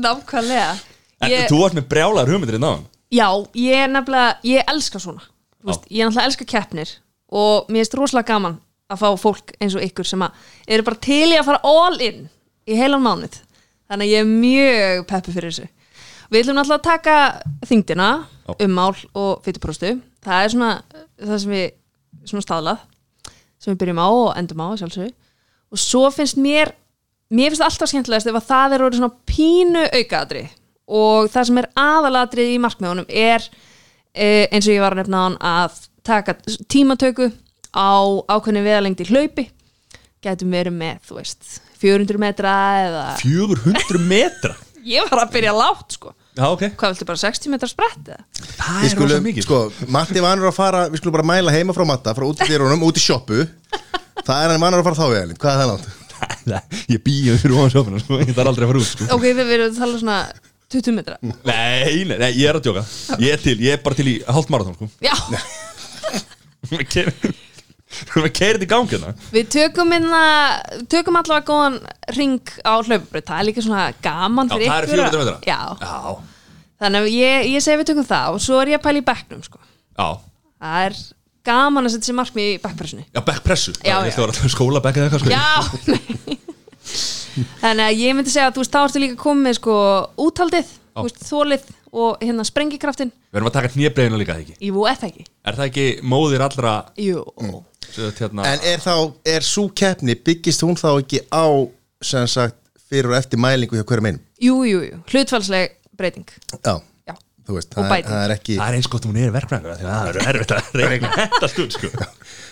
C: nákvæmlega
A: En
C: ég,
A: þú varst með brjálaður hugmyndir hérna í náðan
C: já, ég er nefnilega, ég elska svona Þú veist, ég er náttúrulega elska keppnir og mér finnst rosalega gaman að fá fólk eins og ykkur sem að eru bara til í að fara all in í heilan mánuð þannig að ég er mjög peppi fyrir þessu við ætlum náttúrulega að taka þingdina
A: Já.
C: ummál og fytupróstu það er svona það sem við svona staðlað sem við byrjum á og endum á sjálfsög og svo finnst mér mér finnst alltaf skemmtilegast ef að það er orðið svona pínu aukaadri og það sem er aðaladrið í markmiðunum er eh, eins og ég var að nefna hann að taka tímatöku á ákveðni veðalengd í hlaupi gætum verið með, þú veist 400 metra eða
A: 400 metra
C: ég var að byrja látt sko
A: Já, ok
C: hvað viltu bara 60 metra sprett eða?
A: Það
B: Við
A: er rosa
B: skulum,
A: mikið
B: sko, Matti vanur að fara við skulum bara mæla heima frá Matta, frá út í dyrunum út í sjoppu, það er hann vanur að fara þá við Elin, hvað er það langt?
A: *laughs* Ég býja fyrir ofan sjófuna sko. Ég þarf aldrei að fara út sko.
C: ok, við við erum að tala svona 20 metra
A: nei, nei, nei, ég er að djóka Ég er til, ég er bara til í hálft marathón sko.
C: já,
A: Við keirum Við keirum til gangi hérna
C: við tökum inna, tökum allavega góðan ring á hlaupabraut, það er líka svona gaman
A: Já,
C: fyrir
A: það er
C: ykkur að-
A: 400 metra
C: já,
A: Já,
C: þannig að ég, ég segi við tökum það og svo er ég að pæla í bekknum sko.
A: já,
C: það er gaman að setja sér markmið í bekkpressunni
A: já backpressu
C: Já,
A: Ég
C: já.
A: ætla að vera skóla back eða eitthvað sko.
C: Já *laughs* Þannig að ég myndi segja að þú veist, þá ertu líka komið sko úthaldið, þú veist, þólið og hérna sprengikraftin
A: Við erum að taka hnébreðina líka, eða ekki
C: Jú, er það ekki?
A: Er það ekki móðir allra
C: Jú,
A: Sett, hérna,
B: En er þá, er svo keppni, byggist hún þá ekki á, sem sagt, fyrir og eftir mælingu hjá hverjum einum?
C: Jú, jú, jú, hlutfallsleg breyting
B: Já,
C: Já,
B: þú veist,
C: Og
B: það, er-
C: bæting.
B: það er ekki
A: það er eins gott að hún er verkfræðingur af því að það eru erfitt að reyna þetta stund sko.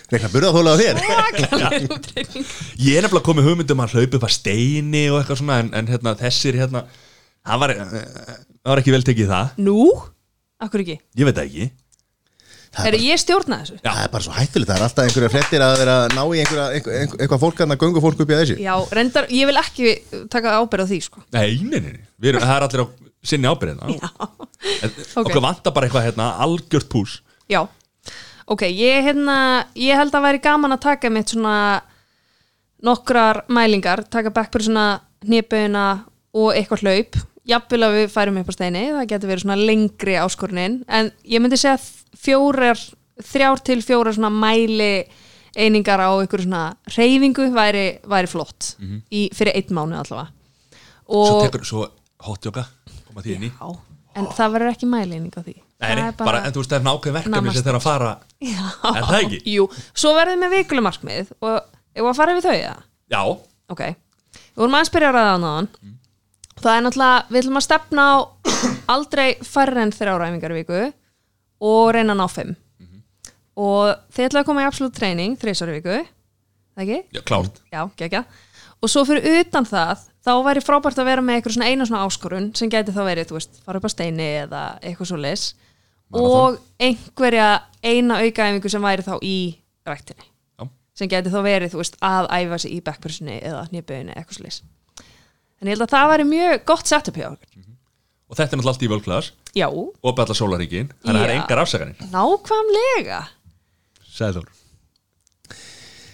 B: reikna burðaþóla á þér.
C: svakaleg breyting
A: ég er nefnilega komið hugmyndum að hlaupa upp að steini og eitthvað svona en, en hérna, þessir hérna það var, eh, það var ekki vel tekið í það
C: Nú? Akkur ekki?
A: ég veit það ekki
B: Það er
C: Er ég stjórna þessu?
A: Já.
B: Það er bara svo hættulegt, það er alltaf einhverja frettir að vera að ná í einhverja, einhver, einhver, eitthvað fólk að göngu fólk upp í að þessu.
C: Já, reyndar, ég vil ekki taka ábyrð á því sko
A: Nei, nei, nei, nei. Við Erum, það er allir á sinni ábyrðina
C: ok.
A: okkur vantar bara eitthvað hérna, algjört pús
C: Já, ok, ég, hérna, ég held að væri gaman að taka mitt svona nokkrar mælingar, taka backpressuna, hnipuna og eitthvað hlaup jafnvel að við færum upp á steini, það getur verið svona lengri áskorunin, en ég myndi segja fjórar, þrjár til fjórar svona mæli einingar á einhverju svona reyfingu væri, væri flott í, fyrir einn mánu allavega
A: Mhm. svo,
C: og,
A: tekur, svo hotjóka koma því inn í
C: já, en það verður ekki mæli eining á því
A: Nei, nei,
C: Það er
A: bara, en þú veist, það er nákvæm verkefni
C: Nánast.
A: sem þeirra að fara
C: Já.
A: Er það ekki?
C: *laughs* Jú, svo verðum við vikulemarkmið og ef að fara við þau eða?
A: Já,
C: Ok, við vorum aðeins byrja að ræða á náðan
A: Mm.
C: Það er náttúrulega, við ætlum að stefna á *coughs* aldrei færre en þrjá ræfingar í viku og reyna að ná fimm
A: Mhm.
C: og þið ætlaðu að koma í absolutt treyning þreysar í viku, það ekki?
A: já klárt
C: Já, gekkja Og svo fyrir utan það, þá væri frábært að vera með eitthvað svona eina svona áskorun sem gæti þá verið, þú veist, fara upp á steini eða eitthvað svo leis og einhverja eina aukaæfingu sem væri þá í ræktinni
A: Já.
C: sem gæti þá verið, þú veist, að æfa sig í backpersonu eða hnýböðinu eitthvað svo leis En ég held að það væri mjög gott setup hjá okkur
A: Og þetta er náttúrulega allt í völklaðas
C: Já,
A: og bæðla sólaríkin, þannig að það er
C: Já.
A: engar afsakanir
C: nákvæmlega
A: Sæður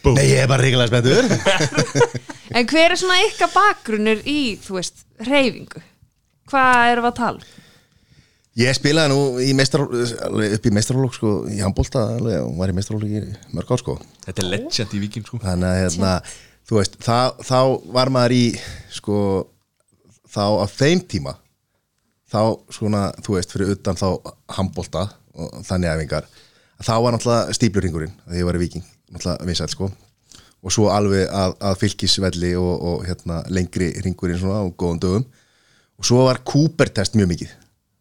B: Nei, ég er bara ríkilega spenntur.
C: En hver er svona ykkar bakgrunnur í, þú veist, reyfingu? Hvað erum við að tala? um?
B: Ég spilaði nú í meistar, upp í meistarólog, sko, í handbólta, alveg, og var í meistarólog í mörg ár, sko.
A: Þetta er legend í vikin sko
B: þannig að hérna, þú veist þá, þá var maður í sko, þá á þeim tíma þá svona, þú veist, fyrir utan þá handbolta og þannig æfingar þá var náttúrulega stípluringurinn þegar ég var í viking, náttúrulega vinsæl sko og svo alveg að, að fylkisvelli og, og hérna, lengri ringurinn svona á góðum dögum og svo var Cooper-test mjög mikið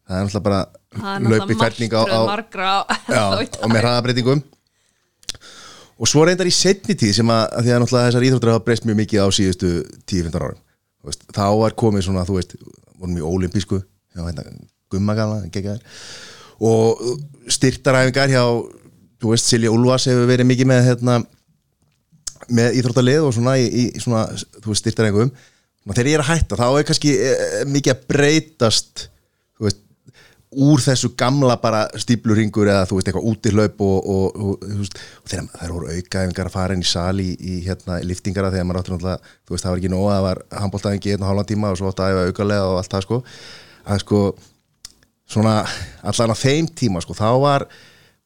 B: það er náttúrulega
C: Það er
B: bara
C: náttúrulega
B: laupi ferning á,
C: martröð
B: á,
C: margra *laughs* á,
B: Já,
C: þá í
B: og með hraðabreitingum og svo reyndar í setni tíð sem að, að því að náttúrulega þessar íþróttur hafa breyst mjög mikið á síðustu 10-15 árum Þú veist, þá var komið svona, þú veist vorum í olimpísku, já, hérna gummagala, geggar og styrtaræfingar hjá þú veist, Silja Úlfars hefur verið mikið með hérna, með íþróttalið og svona í, í svona, þú veist, styrtaræfingum og þegar ég er að hætta, þá er kannski eh, mikið að breytast þú veist, úr þessu gamla bara stípluringur eða þú veist eitthvað útihlaup og, og, og, þú veist, og þegar það voru aukaæfingar að fara inn í sali í, í hérna, í liftingara þegar maður áttur náttúrulega, þú veist það var ekki nóg að það var handbóltaðingi einn og hálfan tíma og svo átt að æfa aukalega og allt það sko að sko svona allan á þeim tíma sko þá var,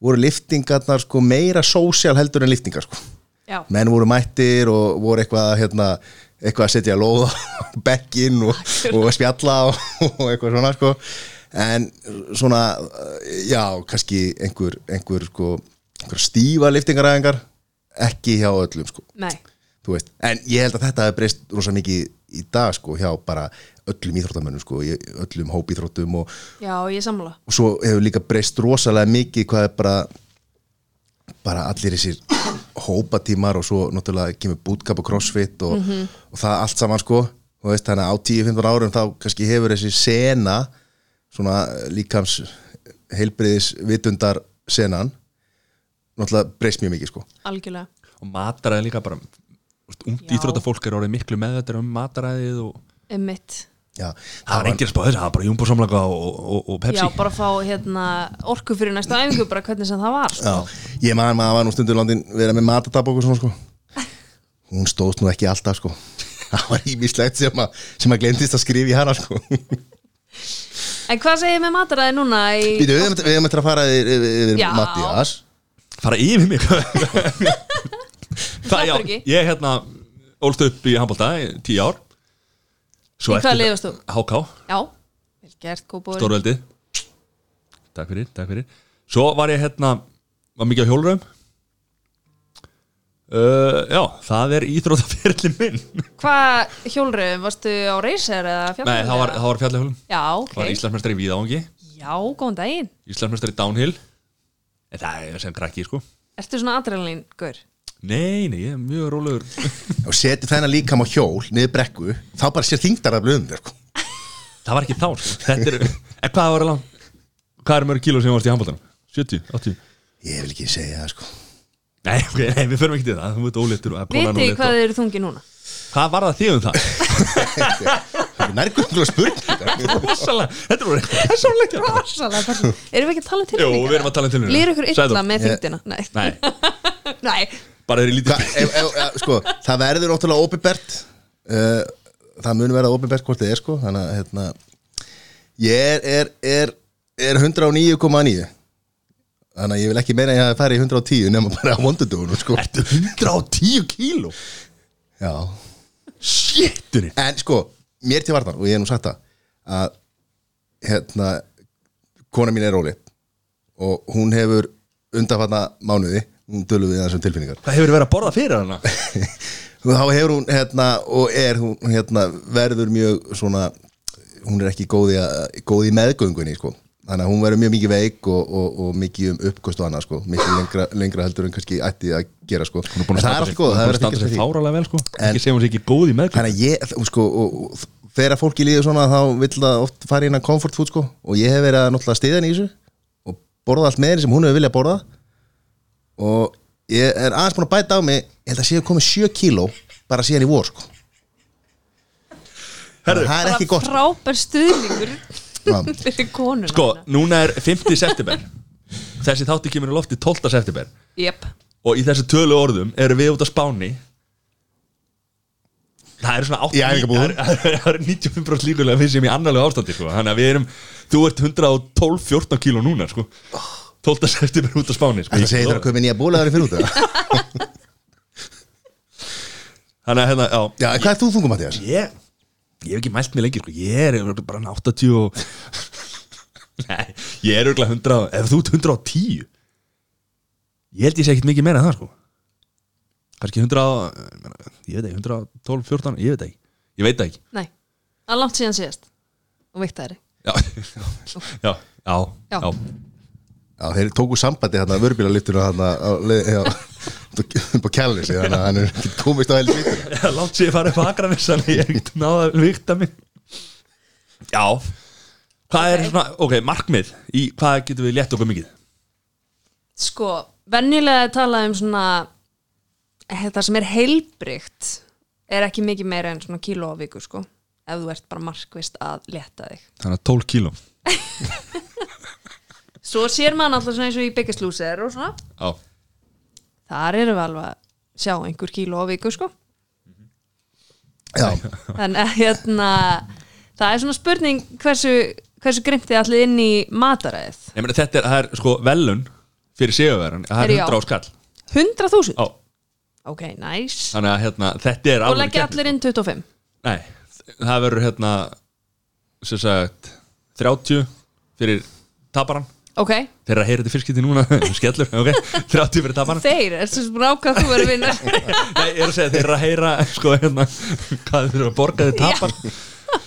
B: voru liftingarnar sko meira sósíal heldur en liftingar sko
C: Já,
B: menn voru mættir og voru eitthvað hérna, eitthvað að setja lóð á *laughs* bekkin og, og spjalla og, *laughs* og eitthvað svona sko. en svona eh, já, kannski einhver, einhver, sko, einhver stífa liftingaræðingar ekki hjá öllum sko
C: nei,
B: þú veist, en ég held að þetta hefði breyst rosa mikið í dag sko hjá bara öllum íþróttamönnum sko, í öllum hópíþróttum og,
C: já, ég er sammála
B: og svo hefur líka breyst rosalega mikið hvað er bara bara allir þessir hópatímar og svo náttúrulega kemur bootcamp og crossfit og, og það allt saman sko þú veist, þannig að á 10-15 árum þá kannski hefur þessi sena svona líkams heilbriðis vitundar senan náttúrulega breyst mjög mikið sko
C: algjörlega
A: Og mataræði líka bara úst, Ungt
C: Já.
A: íþróttafólk er orðið miklu meðvættir um mataræðið og
C: um mitt
B: Já,
A: það var engir að spá þessu, það var bara júmbúrsamlaga og, og, og Pepsi
C: Já, bara fá hérna, orku fyrir næstu æfingu bara hvernig sem það var sko.
B: Já, ég maður maður var nú stundur landin vera með matatab og svona sko hún stóðst nú ekki alltaf sko *laughs* það var ímislegt sem að, sem að glemtist að skrifa í hana sko
C: En hvað segir með mataræði núna í...
B: Býtu, við, eigum- við hefum eftir að fara yfir, yfir, yfir
C: Já.
B: Mattias
A: Fara yfir
C: *laughs*
A: mig Það já,
C: sleppur ekki.
A: ég hérna Ólst upp í handbólta í tíu ár Svo
C: Í hvaða
A: eftir-
C: lið varst þú?
A: HK,
C: Já, vel gert, kópóri
A: stórveldi Takk fyrir, takk fyrir Svo var ég hérna Var mikið á hjólraum Uh, já, það er íþróttaferli minn Nei,
C: Hvað hjólröðum, varstu á reyser eða fjallröðum?
A: það var, það var fjallahjólum
C: Já,
A: Það var
C: ok.
A: Íslandsmestari í Víðavangi
C: Já, góðan daginn.
A: Íslandsmestari í Downhill En það er sem krakki, sko
C: Ertu svona adrenalíngur?
A: Nei, nei, ég er mjög rólegur
B: og seti þennan líkam á hjól niður brekku, þá bara sér þingdar að blöðum þér sko.
A: Það var ekki þá, sko Þetta er, en hvað var alveg Hvað er mörg kíló sem varst í handbóltanum? 70, 80
B: ég vil ekki segja það sko.
A: Nei, ok, nei, við förum ekki til það, þú veit óléttur og konan
C: Vitið þið
A: ólétt
C: hvað
A: og...
C: þið eru þungi núna?
A: Hvað var það *laughs* þig um það?
B: nærgöngulega spurning
A: Rosalega, þetta voru eitthvað persónlegt já.
C: Rosalega persónu. Erum við ekki að tala um
A: Jú,
C: tilfinningar?
A: við erum að tala um tilfinningar.
C: Lýr ykkur illa
A: Sæþór.
C: með
B: Ég-
C: þyngdina? Nei.
A: Nei,
C: Nei.
A: bara þeir í
B: Hva,
A: lítið
B: ef, ef, ef, sko, það verður ótrúlega óbibert uh, það mun verða óbibert hvort þið er sko þannig að hérna, ég er, er, er, er 109,9 þannig að ég vil ekki meina að ég hafi farið í 110 nema bara á mondudugunum sko.
A: Ertu 110 kíló?
B: já,
A: Shitturinn
B: en sko mér til varnar og ég hef nú sagt það að hérna kona mín er róli og hún hefur undanfarna mánuði hún dölum við þessum tilfinningar
A: Hvað hefur verið að borða fyrir hana?
B: og þá hefur hún hérna og er hún hérna verður mjög svona hún er ekki góð í, að, góð í meðgöngunni sko þannig að hún verður mjög mikið veik og, og, og mikið um uppkost og annað sko mikið lengra, lengra heldur en kannski ætti að gera sko en það er allt góð, það er
A: að
B: ekki
A: standa sér
B: fyrir
A: fáralega vel sko Ekki sem hún sé ekki góð í meðkvæm
B: þannig að ég, þú- sko, og, og, þegar fólki líður svona þá vill það oft fara inn að comfort food sko og ég hef verið að náttúrulega stiða henni í þessu og borða allt með henni sem hún hefur viljað borða og ég er aðeins búin að bæta á mig ég held að séu komið 7 kíló bara síðan í vor sko Herðu, það er ekki gott
C: Frábær stuðningur
B: Já.
C: fyrir konuna.
A: Sko, núna er 50 september Þessi þátti kemur í lofti 12. september
C: Jep.
A: Og í þessu tölu orðum erum við út á Spáni Það eru svona 8,
B: Í æfingabúðum.
A: *laughs* það eru- það eru 95% líkulega við sem í annarlega ástandi sko. Þannig að við erum, þú ert 112-14 kíló núna sko. 12. september út á Spáni sko.
B: Það segir það að köpa nýja bólaðari fyrir út eða?
A: Þannig að hérna, já,
B: Já, en hvað er þú þungum að þér?
A: ég, ég hef ekki mælt mig lengi sko. ég er örugglega bara hann 80 og... nei, ég er örugglega 100 og- ef þú ert 110 ég held ég sé ekkit mikið meira en það sko. kannski 100 og- ég meina, ég veit ekki, 112, 14 ég veit það ekki, ég veit það ekki
C: Nei. Það er langt síðan síðast. Og viktaðari.
A: já, *laughs* já, já,
C: Já.
A: já. *laughs*
B: Já, þeir tóku sambandi þarna vörbílaliftinu þarna á leið- já, *laughs* upp á kjærleysi þannig að hann er ekkert komist á helst
A: Já, látt sér fara upp akranis þannig ég er ekkert náða að vikta mig já hvað er svona, ok, markmið í hvað getum við létt okkur mikið
C: Sko, venjulega er talað um svona þetta sem er heilbrygt er ekki mikið meira en svona kíló á viku sko ef þú ert bara markvist að leta þig
A: þannig að 12 kílum
C: Svo sér maður alltaf svona eins og í Biggest Loser og svona
A: já,
C: Þar erum við alveg að sjá einhver kíló á
A: *laughs*
C: viku sko
B: Já,
C: En eh, hérna það er svona spurning hversu, hversu grimti allir inn í mataræðið
A: Ég meina þetta er, það er sko velun fyrir sigurverðan, það er
C: Herri, já.
A: 100 á skall
C: 100.000?
A: Já,
C: Ok, næs
A: þannig að hérna, þetta er
C: Og
A: alvöru
C: leggja
A: keppni. sko.
C: allir inn 25
A: Nei, það verður hérna sem sagt 30 fyrir taparan
C: Ok,
A: þeirra heyri þetta fyrskiti núna, *laughs* skellur ok, 30 fyrir taparan
C: þeir, er svo rákað þú verið vinnar
A: Nei, ég er að segja þeirra heyra sko hérna, hvað þeir eru að borga þeir tapar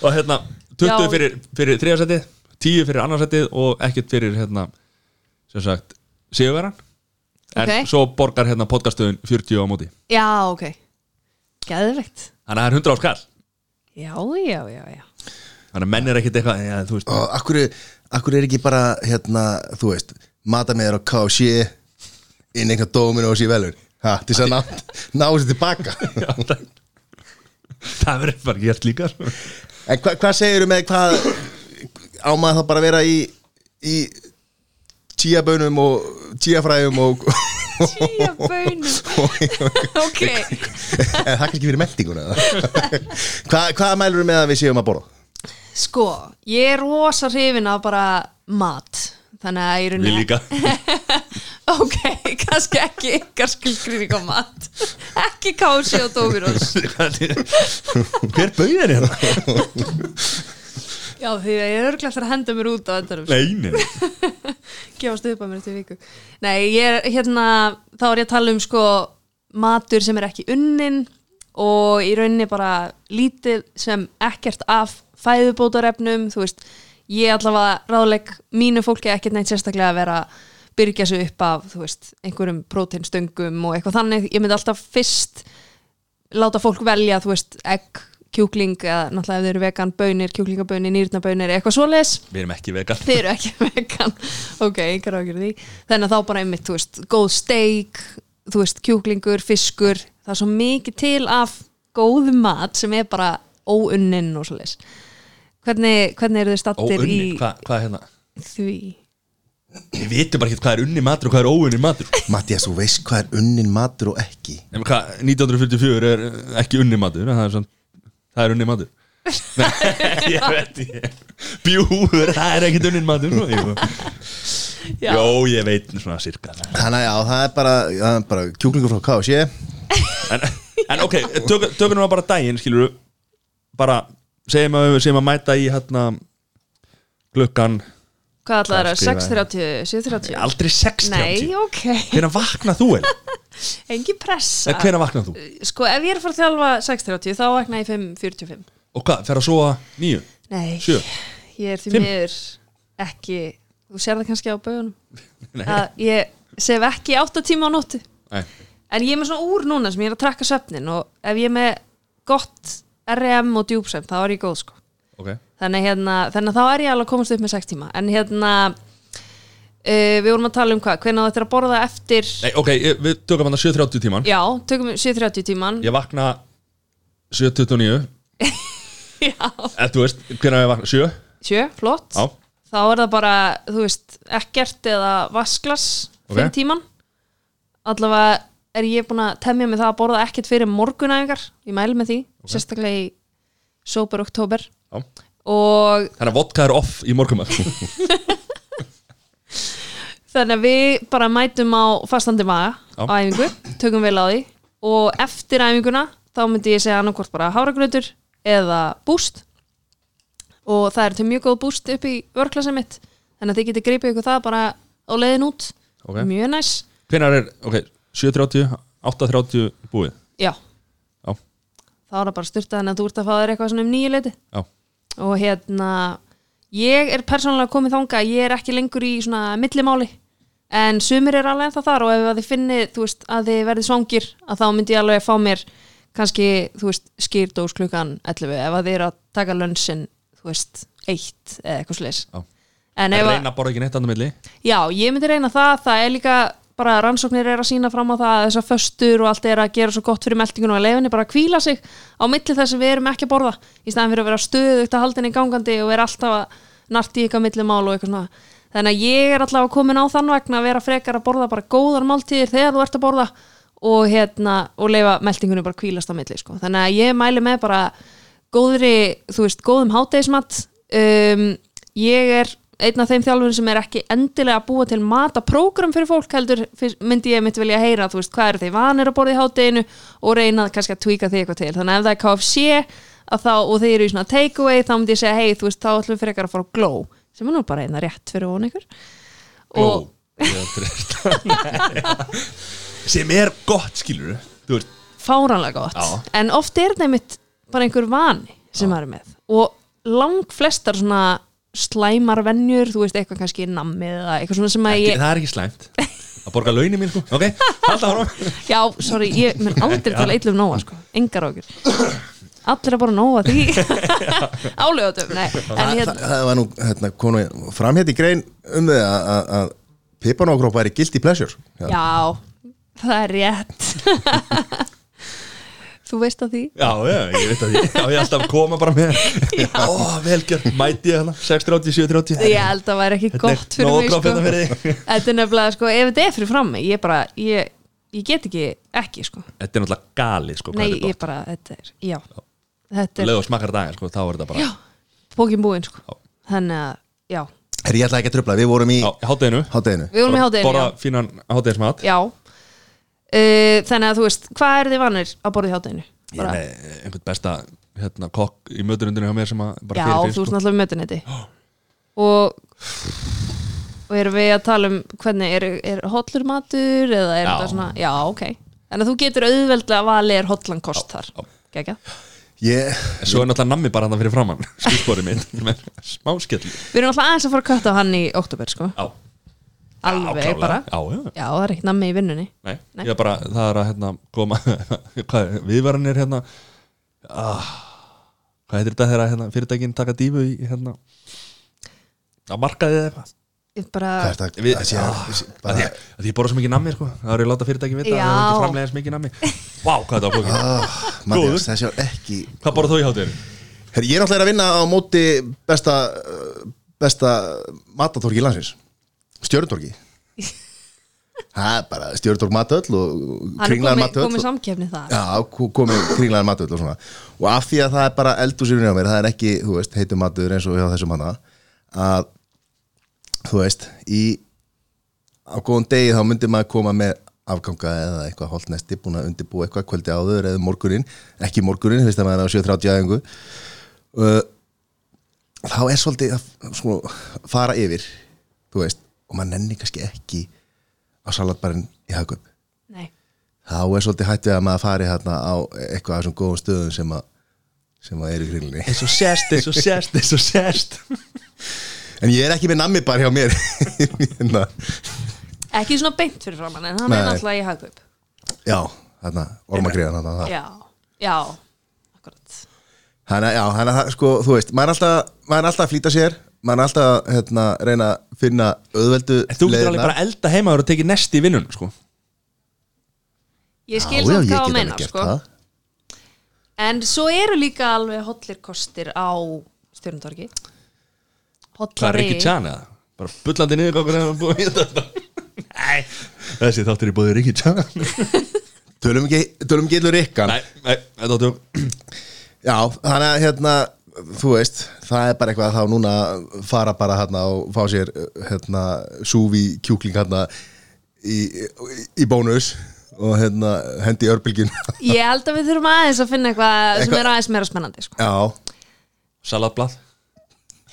A: og hérna 20
C: Já.
A: fyrir, fyrir þriðarsætið 10 fyrir annarsætið og ekkert fyrir hérna, sem sagt, sigurverðan en
C: Ok.
A: svo borgar hérna podcastöðun 40 á móti
C: *laughs* Já, ok Geðvegt
A: Þannig að það er 100 á skall
C: Já, já, já, já
A: Þannig að menn er ekkit eitthvað ja, þú veist, *laughs*
B: og akkur, akkur er ekki bara hérna, þú veist, mata með þér á KFC inn einhver dóminu og sé velur ha, til þess að ná, ná sér tilbaka
A: já, það, það verður bara gert líka sko.
B: en hva, hvað segirðu með hvað á maður þá bara að vera í í tíabönum og tíafræðum og
C: Tíja *laughs* bönum Ok
B: en það kannski fyrir meldinguna hvað, hvað mælurðu með að við séum að borða?
C: Sko, ég er rosa hrifin af bara mat Þannig að ég er
A: Við líka
C: Ok, *laughs* kannski ekki ykkar skilgrinning á mat Ekki kási og dómirós
A: Hver bauð er hérna?
C: Já, því að ég er örglega þar að henda mér út á endanum sko.
A: Nei, nei, nei.
C: gefast upp að mér eftir viku Nei, ég er hérna þá er ég að tala um sko matur sem er ekki unnin og í rauninni bara lítið sem ekkert af fæðubótarefnum, þú veist ég allavega ráðleik mínu fólki ekkert neitt sérstaklega að vera að byrgja sig upp af, þú veist, einhverjum próteinstöngum og eitthvað þannig, ég myndi alltaf fyrst láta fólk velja, þú veist, egg, kjúkling eða náttúrulega ef þeir eru vegan, bönir, kjúklingabönir, nýrnabönir, eitthvað svoleiðis
A: við erum ekki vegan
C: þið eru ekki *laughs* vegan ok, einhver ágjur því þannig að þá bara einmitt, þú veist, góð steik þú veist, kjúklingur, fiskur það er svo mikið til af góðum mat sem er bara óunnin og svoleiðis hvernig, hvernig eru þið stattir
A: óunni,
C: í
A: hvað, hvað er hérna
C: því
A: við vitum bara ekki hvað er unni matur og hvað er óunni matur
B: Mattias, þú veist hvað er unnin matur og ekki
A: Nefnir, hvað, 1944 er eh, ekki unni matur en það er, samt, það er unni *laughs* matur Nei, ég veit ég bjúður, það er ekkit unni matur Jú,
C: Já.
A: Jó, ég veit svona sirka það
B: Þannig að já, það er bara, það er bara kjúklingur frá KFC
A: en, en ok, tök, tökum við bara daginn skilur við bara segjum að, segjum að mæta í hérna glukkan
C: hvað allar er
A: Hvað skrifaði?
C: 6.30, 7.30
A: aldrei 60
C: nei, ok,
A: hvenær vaknað þú
C: *laughs*
A: el?
C: engin pressa
A: hvenær vaknað þú?
C: sko, ef ég er að fara að þjálfa 6.30 þá vakna ég 5.45
A: og hvað, fer að sofa nýju?
C: Nei,
A: Sjö?
C: ég er því
A: Fimm?
C: miður ekki, þú sér það kannski á baugunum
A: Nei.
C: að ég sef ekki átta tíma á nóttu
A: Nei.
C: en ég er með svona úr núna sem ég er að trakka svefnin og ef ég er með gott RM og djúpsvefn þá er ég góð sko
A: ok,
C: þannig, hérna, þannig að þá er ég alveg að komast upp með 6 tíma en hérna uh, við vorum að tala um hvað, hvernig þetta er að borða eftir
A: Nei, ok, ég- við tökum hann að 7.30 tíman
C: já, tökum 7.30 tíman
A: ég vakna 7.29
C: *laughs* já,
A: eða þú veist, hvenær ég vakna? 7?
C: sjö, flott
A: Já,
C: þá er það bara, þú veist, ekkert eða vasklas
A: Ok.
C: fyrir tíman allavega er ég búin að temja mig það að borða ekkert fyrir morgunæfingar ég mæli með því, sérstaklega í sober oktober
A: já
C: og
A: Þannig að vodka er off í morgum
C: *laughs*
A: Já,
C: þannig að við bara mætum á fastandi maga
A: Já.
C: á æfingu, tökum vel á því og eftir æfinguna þá myndi ég segja annarkvort bara háragröður eða búst og það er til mjög góð búst upp í vörklasa mitt þannig að þið getið gripið ykkur það bara á leiðin út
A: Ok.
C: mjög næs
A: hvenær er, ok, 7.30 8.30 búið
C: Já,
A: Já,
C: þá er það bara styrtað en að þú ert að fá þér eitthvað svona um nýju leiti
A: já,
C: og hérna, ég er persónulega komið þanga að ég er ekki lengur í svona millimáli, en sumir er alveg ennþá þar og ef að þið finnið, þú veist, að þið verðið svangir, að þá myndi ég alveg að fá mér kannski, þú veist, skýrdós klukkan 11, ef að þið eru að taka lönnsinn, þú veist, eitt eða eitthvað slis.
A: já
C: En
A: En
C: ef að,
A: reyna að borða ekki neitt andan milli
C: já, ég myndi reyna það, það er líka bara rannsóknir er að sína fram á það að þessar föstur og allt er að gera svo gott fyrir meldingun og að leifinni bara að kvíla sig á milli þess að við erum ekki að borða í staðan fyrir að vera stöðugt að haldinni gangandi og vera alltaf að narti ykkar millimál og eitthvað svona þannig að ég er alltaf komin á þann vegna að vera frekar að borða bara góðar máltíðir þegar þú ert að borða og, hérna, og leifa meldingunni bara að kvílast á milli sko. þannig að ég mæli með bara góðri, þú veist, góðum hátegismat um, ég er einn af þeim þjálfur sem er ekki endilega að búa til mataprógram fyrir fólk heldur fyrst, myndi ég mitt vilja heyra þú veist, hvað eru þeir vanir að borða í hátteginu og reyna kannski að tvíka því eitthvað til þannig að ef það er KFC að þá, og þeir eru í svona takeaway þá myndi ég segja, hei, þú veist, þá ætlum við frekar að fara á glow sem er nú bara einna rétt fyrir von ykkur og,
A: Gló *laughs* Sem er gott, skilur Þú veist,
C: fáránlega gott
A: Já.
C: en oft er það einmitt bara einhver vani sem maður er með og lang flestar svona slæmar venjur, þú veist eitthvað kannski nammið eða eitthvað svona sem að
A: ekki,
C: ég
A: það er ekki slæmt Að borga launin mín, sko Ok, halda ára
C: já, sorry, ég mun
A: *laughs*
C: aldrei tala eitthvað um nóa sko, engar okkur allir að bara nóa
A: *laughs*
C: því álögatum, nei en
B: Þa,
C: hérna,
B: Það var nú, hérna, konu framhétt í grein um þið að- að- að pipanógrópa er í guilty pleasure Já,
C: já það er rétt *laughs* þú veist að því
A: Já, já, ég veit að ég, já, ég er alltaf að koma bara með Ó, velgjörn, mæti ég hana 6.30, 7.30
C: ég held að það væri ekki gott fyrir mig
A: Nóg gróf
C: sko.
A: hérna fyrir þig
C: *laughs* Þetta er nefnilega, sko, ef þetta er fyrir frammi ég bara, ég, ég get ekki ekki, sko,
A: Þetta er náttúrulega gali, sko, hvað
C: nei,
A: þetta er
C: ég
A: gott
C: bara þetta er, já, þetta er
A: Leðu og smakkar daginn, sko, þá er þetta bara
C: já, bókin búin, sko
A: Já.
C: þannig að, já,
B: er ég ætla ekki að tröfla, við vorum í
A: Já, hátteginu
B: hátteginu
C: við vorum í
A: Bara
C: hádeginu
A: Borða
C: já,
A: fínan háteginsmat
C: já. Uh, þannig að þú veist, hvað er þið vanir að borða í hádeginu?
A: Ég er með einhvern besta hérna, kokk í möturundinu hjá mér sem að
C: já,
A: bara fyrir sko.
C: þú
A: fyrir
C: veist náttúrulega með mötunetti og og erum við að tala um hvernig, er, er hollur matur eða
A: Já.
C: er þetta svona, já, ok Þannig að þú getur auðveldlega valið er hotlan kost þar Gekja.
B: Ég,
A: En Svo er náttúrulega nammi bara hann fyrir *laughs* framann Skúsporið minn með Smá skell Já,
C: Við erum alltaf aðeins að fara að kötta á hann í oktober sko. Alveg
A: klárlega.
C: bara
A: Já, já
C: Já, það er ekkert nammi í vinnunni
A: Nei,
C: Nei.
A: ég er bara, það er að hérna koma, *laughs* hvað er, viðvaranir hérna ah, hvað heitir þetta þegar hérna, fyrirtækin taka dýfu í hérna á markaði eða eitthvað
C: Ég bara,
B: hvað er þetta?
A: Við-
B: Það sé-
A: Ah,
B: sé-
A: að
B: bara-
A: ég, að ég borða svo mikið nammi sko, það eru að láta fyrirtækin vita að það eru
C: Já.
A: ekki framlega eins mikið nammi Vá, hvað þetta var flókið,
B: Matthías, þessi var ekki
A: hvað borða þú í hátir?
B: Her, Ég er náttúrulega að vinna á móti besta, uh, besta matatorki landsins
C: *laughs*
B: Stjörntorki Það er bara stjörntork matöll og
C: hann er
B: kringlaðar
C: komið,
B: matöll
C: komið
B: og-
C: samkefni það
B: Já, ko- komið kringlaðar matöll og svona Og af því að það er bara eldúsirinn á mér Það er ekki, þú veist, heitum matur eins og hjá þessum hana Að, þú veist, í á góðum degi þá myndi maður koma með afganga eða eitthvað holdnesti búin að undirbúa eitthvað kvöldi áður eða morgunin ekki morgunin, fyrst að maður er á 7.30 aðingu uh, þá er svolítið að sko, fara yfir, þú veist og maður nenni kannski ekki á salatbarinn í hagkaup
C: Nei,
B: þá er svolítið hætt við að maður fari hérna á eitthvað af þessum góðum stöðum sem að sem að eru í grillinni
A: Eins og sérst, eins og sérst, eins og sérst
B: en ég er ekki með nammi bara hjá mér hérna,
C: ekki svona beint fyrir framann en hann
B: Nei.
C: er náttúrulega í hagkaup
B: já, hérna, ormagriðan hérna, það
C: Já, já, akkurat
B: Þannig að, já, þannig að, það, sko, þú veist, maður er alltaf, maður er alltaf að flýta sér, maður er alltaf að hérna, reyna að finna auðveldu
A: En þú getur alveg bara elda heima og tekið nesti í vinnun sko.
C: Ég skil samt hvað að meina sko. En svo eru líka alveg hotlir kostir á stjórntorki
A: Hvað er Rikki Tjana? Bara bullandi hérna niður okkur en hann búið í þetta Nei, þessi þáttur í búið Rikki Tjana
B: Tölum ekki, tölum ekki illur ykkan.
A: Nei, nei, þetta áttu
B: Já, þannig að, hérna, þú veist, það er bara eitthvað að þá núna fara bara hérna og fá sér, hérna, súfi kjúkling hérna í, í, í bónus og hérna hendi í örbylgjun.
C: Ég held að við þurfum aðeins að finna eitthvað sem er aðeins meira spennandi
B: *laughs*
C: sko.
B: já,
A: Salatblad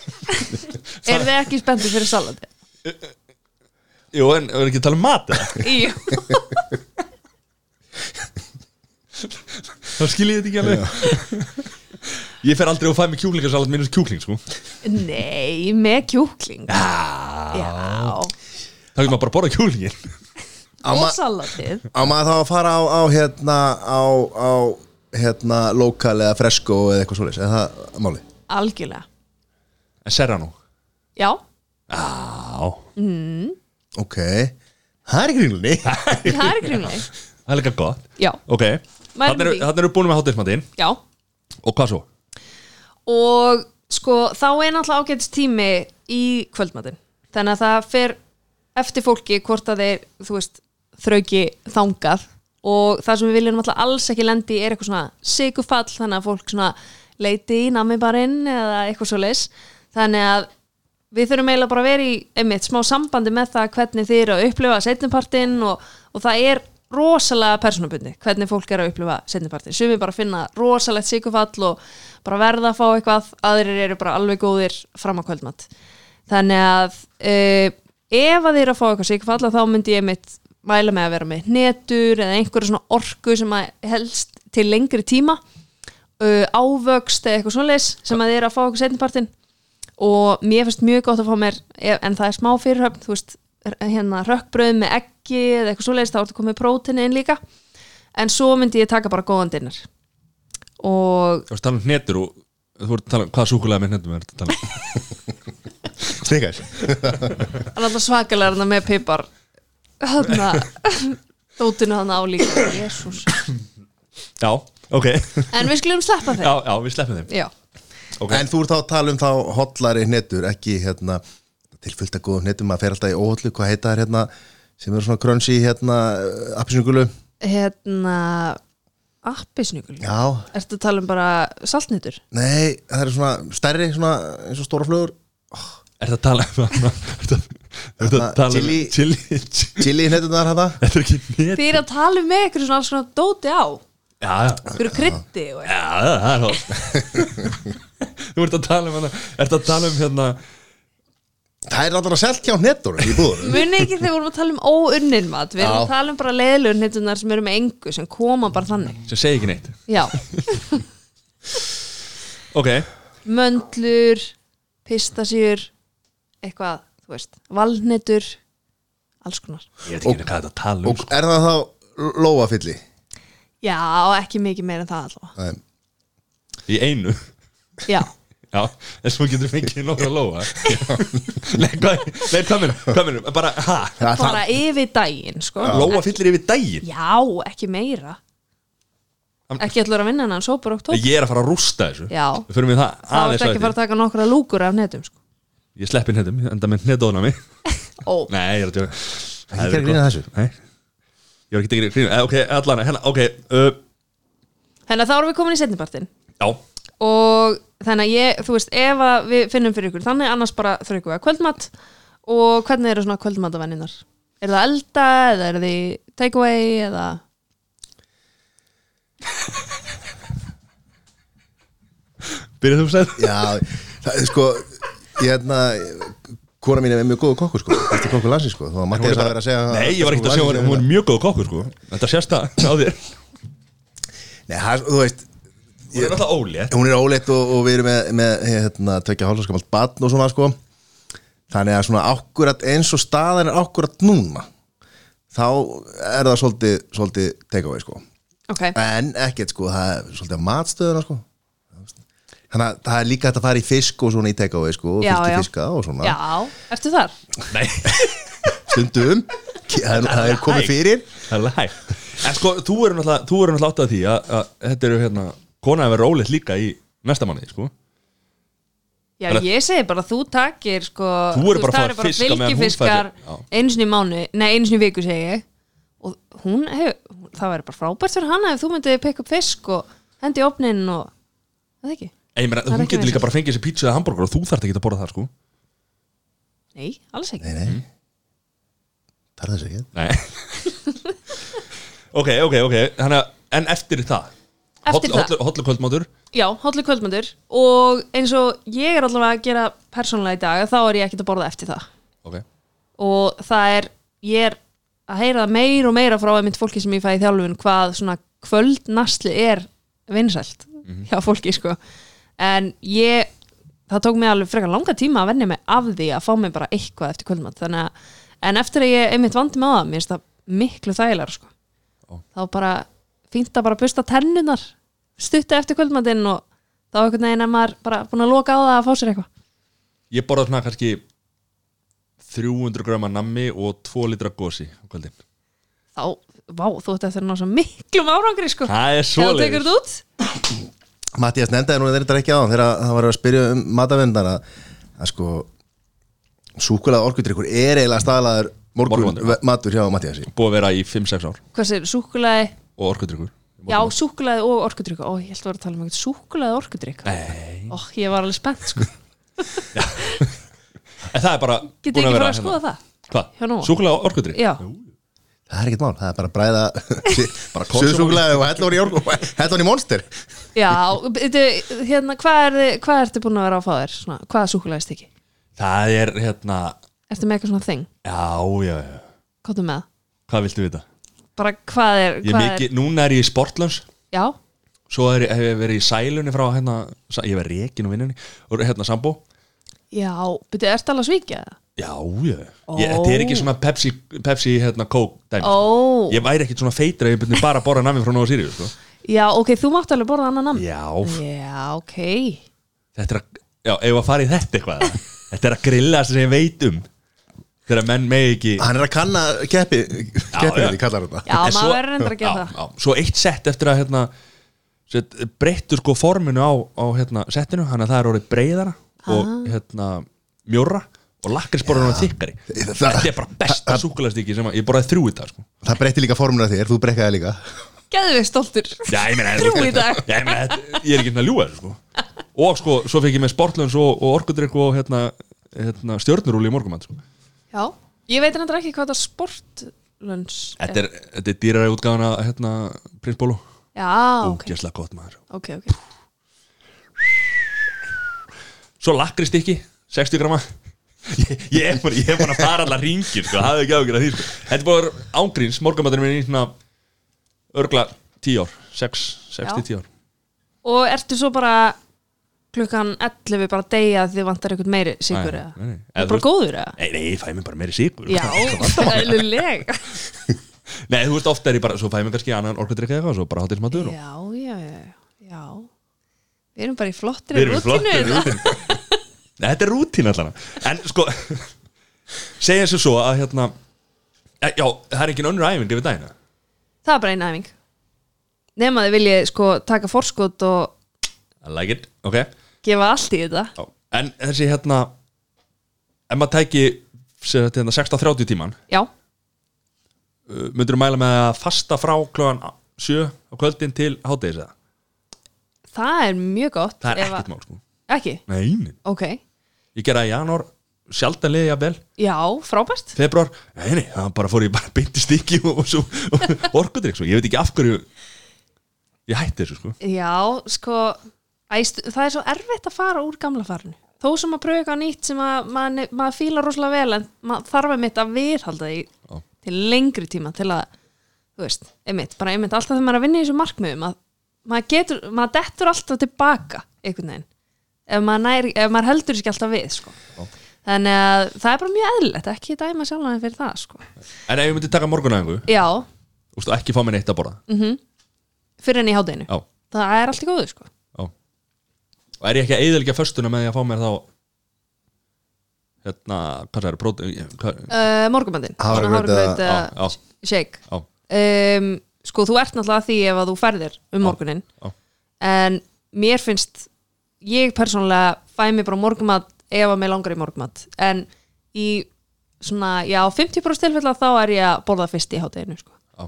C: Er þið ekki spenntið
B: *laughs*
C: fyrir salati?
A: Jú, en við erum ekki að tala um mat eða?
C: Jú,
A: *laughs* Þá skil ég þetta ekki alveg Ég fer aldrei og fæ mig kjúklingasalat mínus kjúkling sko
C: nei, með kjúkling Já
A: Þá getur maður bara að borða kjúklingin
B: Á
C: Og
B: ma-
C: salatið
B: á maður þá að fara á, á hérna á, á hérna lokal eða fresko eða eitthvað svoleiðis eða það máli
C: Algjörlega
A: En serrano
C: Já,
A: Á
B: ok, það er í *laughs* grínlunni
C: það er grímleg
A: Það er líka gott
C: Já,
A: Ok,
C: Mælum
A: þannig eru,
C: því.
A: þarna eru búin með hátismatinn
C: já
A: Og hvað svo?
C: Og sko, þá er náttúrulega ágætis tími í kvöldmatinn Þannig að það fer eftir fólki hvort að þeir, þú veist, þrauki þangað og það sem við viljum náttúrulega alls ekki lendi í er eitthvað svona sigufall þannig að fólk svona leiti í namibarinn eða eitthvað svo leis þannig að við þurfum eiginlega bara að vera í einmitt smá sambandi með það hvernig þið eru að upplifa setnipartin og, og það er rosalega persónubundi hvernig fólk er að upplifa setnipartin sem við bara finna rosalegt sigufall og bara verða að fá eitthvað aðrir eru bara alveg góðir fram að kvöldmatt þannig að uh, ef að þið eru að fá eitthvað sigufall þá myndi ég einmitt mæla með að vera með hnetur eða einhverja svona orku sem að helst til lengri tíma uh, ávöxt eða eitthvað svoleiðis sem að þið eru að fá eitthvað setnipartin og mér finnst mjög gott að fá mér en það er smá fyrirhöfn, þú veist hérna rökkbröð með eggi eða eitthvað svoleiðis, þá ertu komið prótini inn líka en svo myndi ég taka bara góðan dinnar og
A: Þú veist tala um hnetur og Þú voru að tala um hvaða súkulega með hnetum er þetta *laughs* tala um
B: snikar
C: það er alltaf svakalega hérna með pipar hérna *laughs* dótinu hann á líka, jésús
A: Já, *laughs* ok Já,
C: en við skulum sleppa þeim
A: já, við sleppum þeim
C: Já.
A: Ok.
B: en þú ert þá að tala um þá hollari hnetur ekki hérna til fullt að góðum hnetum maður fer alltaf í óhollu, hvað heita þær hérna sem eru svona crunchy hérna appisnugulu,
C: hérna appisnugul
B: já,
C: ertu að tala um bara saltnýtur
B: nei það eru svona stærri, svona eins og stóra flugur
A: Er þetta tala um Er þetta
B: Þarna,
A: tala um
B: chili-
A: Chili
B: chili hnetunar hérna
A: Þetta er ekki hnet
C: þið er að tala um með ykkur svona alls konar dóti á
A: Já, já
C: ykkur kryddi og
A: Já, það er hótt Þú ert að tala um hérna Ert að tala um hérna
B: það er alltaf selt hjá hnettur í búður
C: muni ekki þegar við vorum að tala um óunnin mat við erum
B: Já.
C: að tala um bara leiðilegur nýttunar sem eru með engu sem koma bara þannig
A: sem segi ekki neitt
C: já,
A: ok,
C: möndlur pistasýr eitthvað, þú veist, valnetur alls konar
A: ég veit ekki og, hvað þetta tala um
B: og er það þá lóafylli
C: já, ekki mikið meira en það allavega
B: Nei.
A: sko. í einu
C: já,
A: Já, en svo getur fengið nokkra lóa Nei, hvað Nei, hvað minnum, hvað minnum, bara, ha
B: Það- það-
C: bara yfir daginn sko.
A: Lóa fyllir yfir daginn
C: já, ekki meira
A: Am-
C: ekki allur að vinna hennan sópar oktober
A: Ég er að fara að rústa þessu
C: Já.
A: Við förum við það
C: það
A: aðeins
C: var
A: á
C: ekki
A: eftir.
C: fara að taka nokkra lúkur af netum sko.
A: Ég sleppi hnetum, enda með hnedóna mig
C: ó,
A: Nei, ég er að tjóka
B: Ekki gera grín að þessu.
A: Nei Ég var ekki að grína grín eh, Ok, allan, hérna, ok uh,
C: þannig að þá erum við komin í setnipartin
A: Já,
C: og þannig að ég, þú veist, ef að við finnum fyrir ykkur þannig, annars bara þraukum við að kvöldmatt og hvernig eru svona kvöldmattavenninar? Er það elda eða er þið takeaway eða
A: byrjaðu þú að segja
B: Já, það er sko ég hérna kona mín er mjög góðu kokkur sko besti kokkur landsins sko þá Matti er að vera að segja
A: Nei, ég var ekki að sjá hún, hún er mjög góð kokkur, sko Þetta sést það á þér Hún
B: Nei, það, þú veist
A: er alltaf ólétt
B: hún er óleitt og, og við erum með, með hérna, tvekja hálfskamalt batn og svona sko. þannig að svona akkurat eins og staðan er akkurat núna þá er það svolítið, svolítið takeaway sko.
C: ok,
B: en ekkert sko, það er svolítið á matstöðuna sko. þannig að það er líka hægt að fara í fisk og svona í takeaway sko, og
C: Já,
B: fyrst
C: já.
B: í fiska og svona
C: já, ertu þar?
A: *laughs* Nei,
B: stundum, *laughs* það er, það er komið fyrir
A: það er alveg hægt En sko, þú eru náttúrulega, þú eru náttúrulega átt að því að, að þetta eru hérna, kona að vera ólétt líka í næsta manni, sko
C: Já,
A: Bara-
C: ég segi bara þú takir sko,
A: Þú eru bara að
C: það
A: fá
C: eru bara
A: fisk á meðan hún
C: fylgifiskar
A: fær- Já.
C: einu sinni í mánu, nei einu sinni í viku segi ég og hún hefur, það væri bara frábært fyrir hana ef þú myndið pikk upp fisk og hendi í opnin og, það ekki?
A: Ei, meina,
C: er
A: Hún
C: ekki
A: getur líka
C: vesen.
A: bara að fengið sér pítsu eða hambúrgar og þú þarft ekki að borða það, sko
C: Nei, alls ekki.
B: nei, nei, það er þessi ekki
A: Nei *laughs* Ok, ok, ok, þannig að, en eftir það
C: Eftir það.
A: Hotlu kvöldmátur
C: Já, hálfleg kvöldmöndur og eins og ég er allavega að gera persónulega í dag þá er ég ekkert að borða eftir það
A: Ok,
C: og það er, ég er að heyra það meir og meira frá einmitt fólki sem ég fæ í þjálfun hvað svona kvöldnasli er vinsælt hjá fólki sko en ég, það tók mig alveg frekar langa tíma að venja mig af því að fá mig bara eitthvað eftir kvöldmönd þannig að, en eftir að ég einmitt vandi með það, mér finnst það miklu þægilega sko þá bara fínt að bara busta tennunar stutti eftir kvöldmatinn og þá einhvern veginn að maður bara búin að loka á það að fá sér eitthvað
A: ég borða svona kannski 300 gröma nammi og 2 litra gósi á kvöldin
C: þá, vá, þú ert eftir að ná svo miklum árangri sko
A: Það er
C: Þegar þú tekur
A: svoleiðis
C: þetta út
B: Mattias nefndaði nú þetta ekki á hann þegar hann var að spyrja um matavendar að, að sko súkulað orkudrykkur er eiginlega staðlaður morgun
A: Morgunmatur.
B: matur hjá Mattiasi
A: Búið að vera í 5-6 ár
C: Hvað sér, súkkulaði,
A: og orkudrykkur
C: já, súkkulaði og orkudrykka Ó, ég held að vera að tala um eitthvað súkkulaði og orkudrykka
A: Nei
C: Ó, ég var alveg
A: *laughs*
C: spennt sko
A: En það er bara
C: Getið ekki fara að skoða það?
A: hérna.
C: Hjá
A: Hvað?
C: Nóa?
A: Súkulega orkudrykk?
C: Já,
B: það er ekkert mál, það er bara að
A: *laughs*
B: bræða bara
A: konsum-
B: konsumúkulað og hella hann í orku hella hann í monster
C: já, veitu, hérna, hvað, er, þið- hvað ertu búin að vera að fá þér? Svona, hvaða súkkulaði stikki?
A: Það er hérna
C: Ertu með eitthvað svona þing?
A: Já, já, já
C: Kóttu með það?
A: Hvað viltu vita?
C: Bara hvað er,
A: Ég
C: hvað
A: mikið, núna er ég í sportlunns
C: er Já,
A: Svo er, hef ég verið í sælunni frá hérna sa- Ég var reikin og vinnunni Og hérna sambó
C: já, byrju, ertu alveg að svíkja það?
A: Já, já ég, Þetta er ekki svona Pepsi, Pepsi hérna, Coke dæmi sko.
C: Ó,
A: Ég væri ekkit svona feitur Ef ég byrni bara að borða nami frá Nóa Sirius sko.
C: já, ok, þú mátt alveg borða annan namn
A: Já,
C: Já, ok
A: þetta er að Já, ef að fara í þetta eitthvað
B: *laughs*
A: eða? Þetta er að grilla sem ég veit um Þegar menn megi ekki
B: hann er að kanna keppi keppið
A: já.
B: því kallar hann það
C: Já,
A: En
C: maður verður reyndar að gera
A: já,
C: það.
A: já, Svo eitt sett eftir að hérna, set, breyttu sko forminu á, á hérna, settinu, hann að það er orðið breyðara og hérna mjóra og lakkrinsborðinu ja. þykkari
B: Það-
A: Þetta er bara besta súkulastíki sem að, ég borðaði þrjú í dag sko.
B: það breytti líka formuna þér, þú brekkaði líka
C: Geðvið stoltur
A: Já, ég meina
C: Þrjú í dag.
A: Já, ég meina, þetta- ég er ekki hérna að ljúga þessu, sko. Og sko, svo fekk ég með sportlunns og, og orkudrykk og hérna, hérna, stjörnurúli í morgumann sko.
C: Já, ég veit reyndar ekki hvað það sportlunns
A: Þetta er, þetta er dýrari útgáðan að hérna, Prins Bólu
C: Já, ok,
A: Ógesla gott maður
C: ok, ok
A: Svo lakrist ekki, 60 grama *laughs* ég, ég er bara, ég er bara að fara allar ringir sko, það er ekki ágjör að því sko. Þetta var ángríns, morgunmaturinn minn í svona örgla 10 ár 6, 6 til 10 ár
C: Og ertu svo bara klukkan 11 bara að deyja að þið vantar eitthvað meiri sigur
A: Nei,
C: eða?
A: nei, nei.
C: Þú
A: Eða
C: er bara
A: þú-
C: góður eða?
A: Nei, nei, ég fæ mér bara meiri sigur
C: Já, eðlileg
A: Nei, þú veist, ofta er ég bara, svo fæ mér kannski annan orkudrykk eða eitthvað, svo bara hátir smadur og
C: Já, já, já, já Við erum bara í flottri
A: við erum flottir
C: rútínu.
A: rútin Nei, þetta er rútin allan En sko, *laughs* segja þessu svo að hérna e, Já, það er engin önnur æfing yfir dagina
C: Það er bara einn æfing Nefn að þið viljið sko taka forskot og
A: I like it, ok
C: gefa allt í þetta
A: Já. En þessi hérna Ef maður tæki sem þetta, hérna, 16-30 tíman
C: Já,
A: uh, Myndur þú mæla með að fasta frá klóðan 7 á kvöldin til hátæðis eða?
C: það er mjög gott
A: Það er
C: ef að-
A: ekkert mál sko
C: Ekki?
A: Nei, nei.
C: Ok,
A: ég gera það í janúar Sjaldan liði jafnvel,
C: já, frábært
A: februar Nei, nei, það bara fór ég bara beint í stikki og, og svo og orkudrykk sko Ég veit ekki af hverju Ég hætti þessu sko
C: Já, sko æst, það er svo erfitt að fara úr gamla farinu þó sem að pröfa eitthvað nýtt sem að maður mað fílar rosalega vel en maður þarf einmitt að viðhalda því
A: Já.
C: til lengri tíma til að, þú veist, einmitt bara einmitt alltaf þegar maður er að vinna í þessu markmiðum að maður getur, maður dettur alltaf tilbaka einhvern veginn ef maður, nær, ef maður heldur þessu ekki alltaf við sko. þannig að það er bara mjög eðlilegt ekki dæma sjálfan fyrir það sko.
A: En ef ég myndi taka morgunæfingu
C: Já,
A: og stu, ekki fá mér neitt að borða
C: fyrir enn í hádeginu
A: Já,
C: það er allt í góðu sko.
A: já Og er ég ekki að eyðilega föstuna með því að fá mér þá hérna, hvað það er, prótein hvað,
C: uh, morgumöndin
B: Hafragraut eða-
A: já, já.
C: uh, shake
A: Já,
C: um, sko þú ert náttúrulega að því ef að þú ferðir um morgunin
A: já.
C: en mér finnst ég persónulega fæ mér bara morgumat ef að mér langar í morgumat en í svona, já 50% tilfella þá er ég að borða fyrst í hátæðinu sko.
A: Já.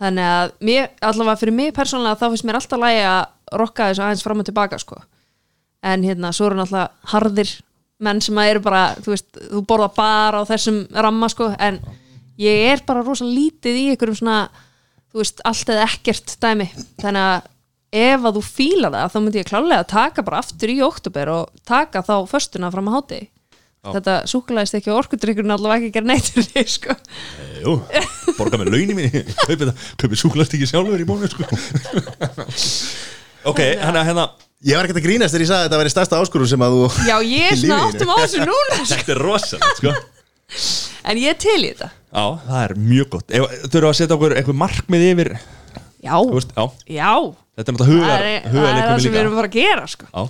C: þannig að mér, allavega fyrir mig persónulega þá finnst mér alltaf lægi að rokka þessu aðeins fram og tilbaka sko. en hérna svo eru náttúrulega harðir menn sem að eru bara, þú veist, þú borða bara á þessum ramma sko, en ég er bara rosa lítið í einhverjum svona, þú veist, allt eða ekkert dæmi, þannig að ef að þú fílar það, þá myndi ég klálega að taka bara aftur í oktober og taka þá föstuna fram að háti þetta súkulæðist ekki orkudrykkurinn allavega ekki að gera neitt fyrir því, sko.
A: Eh, Jú, *laughs* borga með launinu minni *laughs* Kaupið, kaupið súkulast ekki sjálfur í bónu sko. Ok, hann að hérna
B: Ég var ekkert að grínast þegar ég sagði að þetta væri stærsta áskorun sem að þú
C: Já, ég
B: Í
C: er svona
B: lífinu.
C: áttum á þessu núna sko.
A: Þetta er rosalegt sko.
C: en ég er til í þetta
A: Já, það er mjög gott Ef, Þurfa að setja okkur eitthvað markmið yfir þú
C: Já,
A: veist, Já,
C: já
A: þetta er náttúrulega
C: það
A: hugar,
C: er, það er það
A: hugarleikum
C: sem við
A: líka
C: erum bara að gera sko.
A: Já,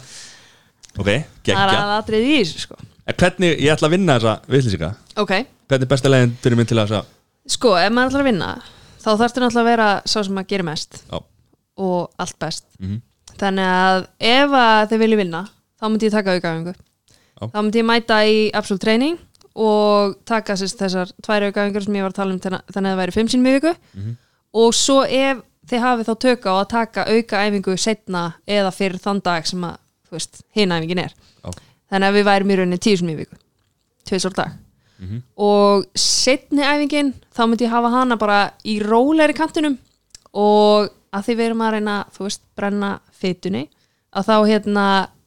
A: ok,
C: það er
A: geggja
C: aðatrið í þessu sko.
A: En hvernig, ég ætla að vinna þessa viðlýsinga
C: ok,
A: Hvernig er besta leiðin fyrir minn til þessa
C: sko, ef maður ætlar að vinna þá þarfstu náttúrulega að vera sá sem að gera mest
A: Já,
C: og allt best þannig að ef að þið vilja vinna þá myndi ég taka aukaðingu
A: Já.
C: þá myndi ég mæta í Absolute Training og taka sérst þessar tvær aukaðingur sem ég var að tala um þennan- þannig að það væri fimm sinni í viku og svo ef þið hafið þá tök á að taka aukaæfingu setna eða fyrir þann dag sem að þú veist, hinn æfingin er
A: já,
C: þannig að við værum í rauninni tíu sem í viku tveisor dag og setni æfingin þá myndi ég hafa hana bara í rólegri kantinum og að því við erum að reyna þú veist, brenna fytunni að þá hérna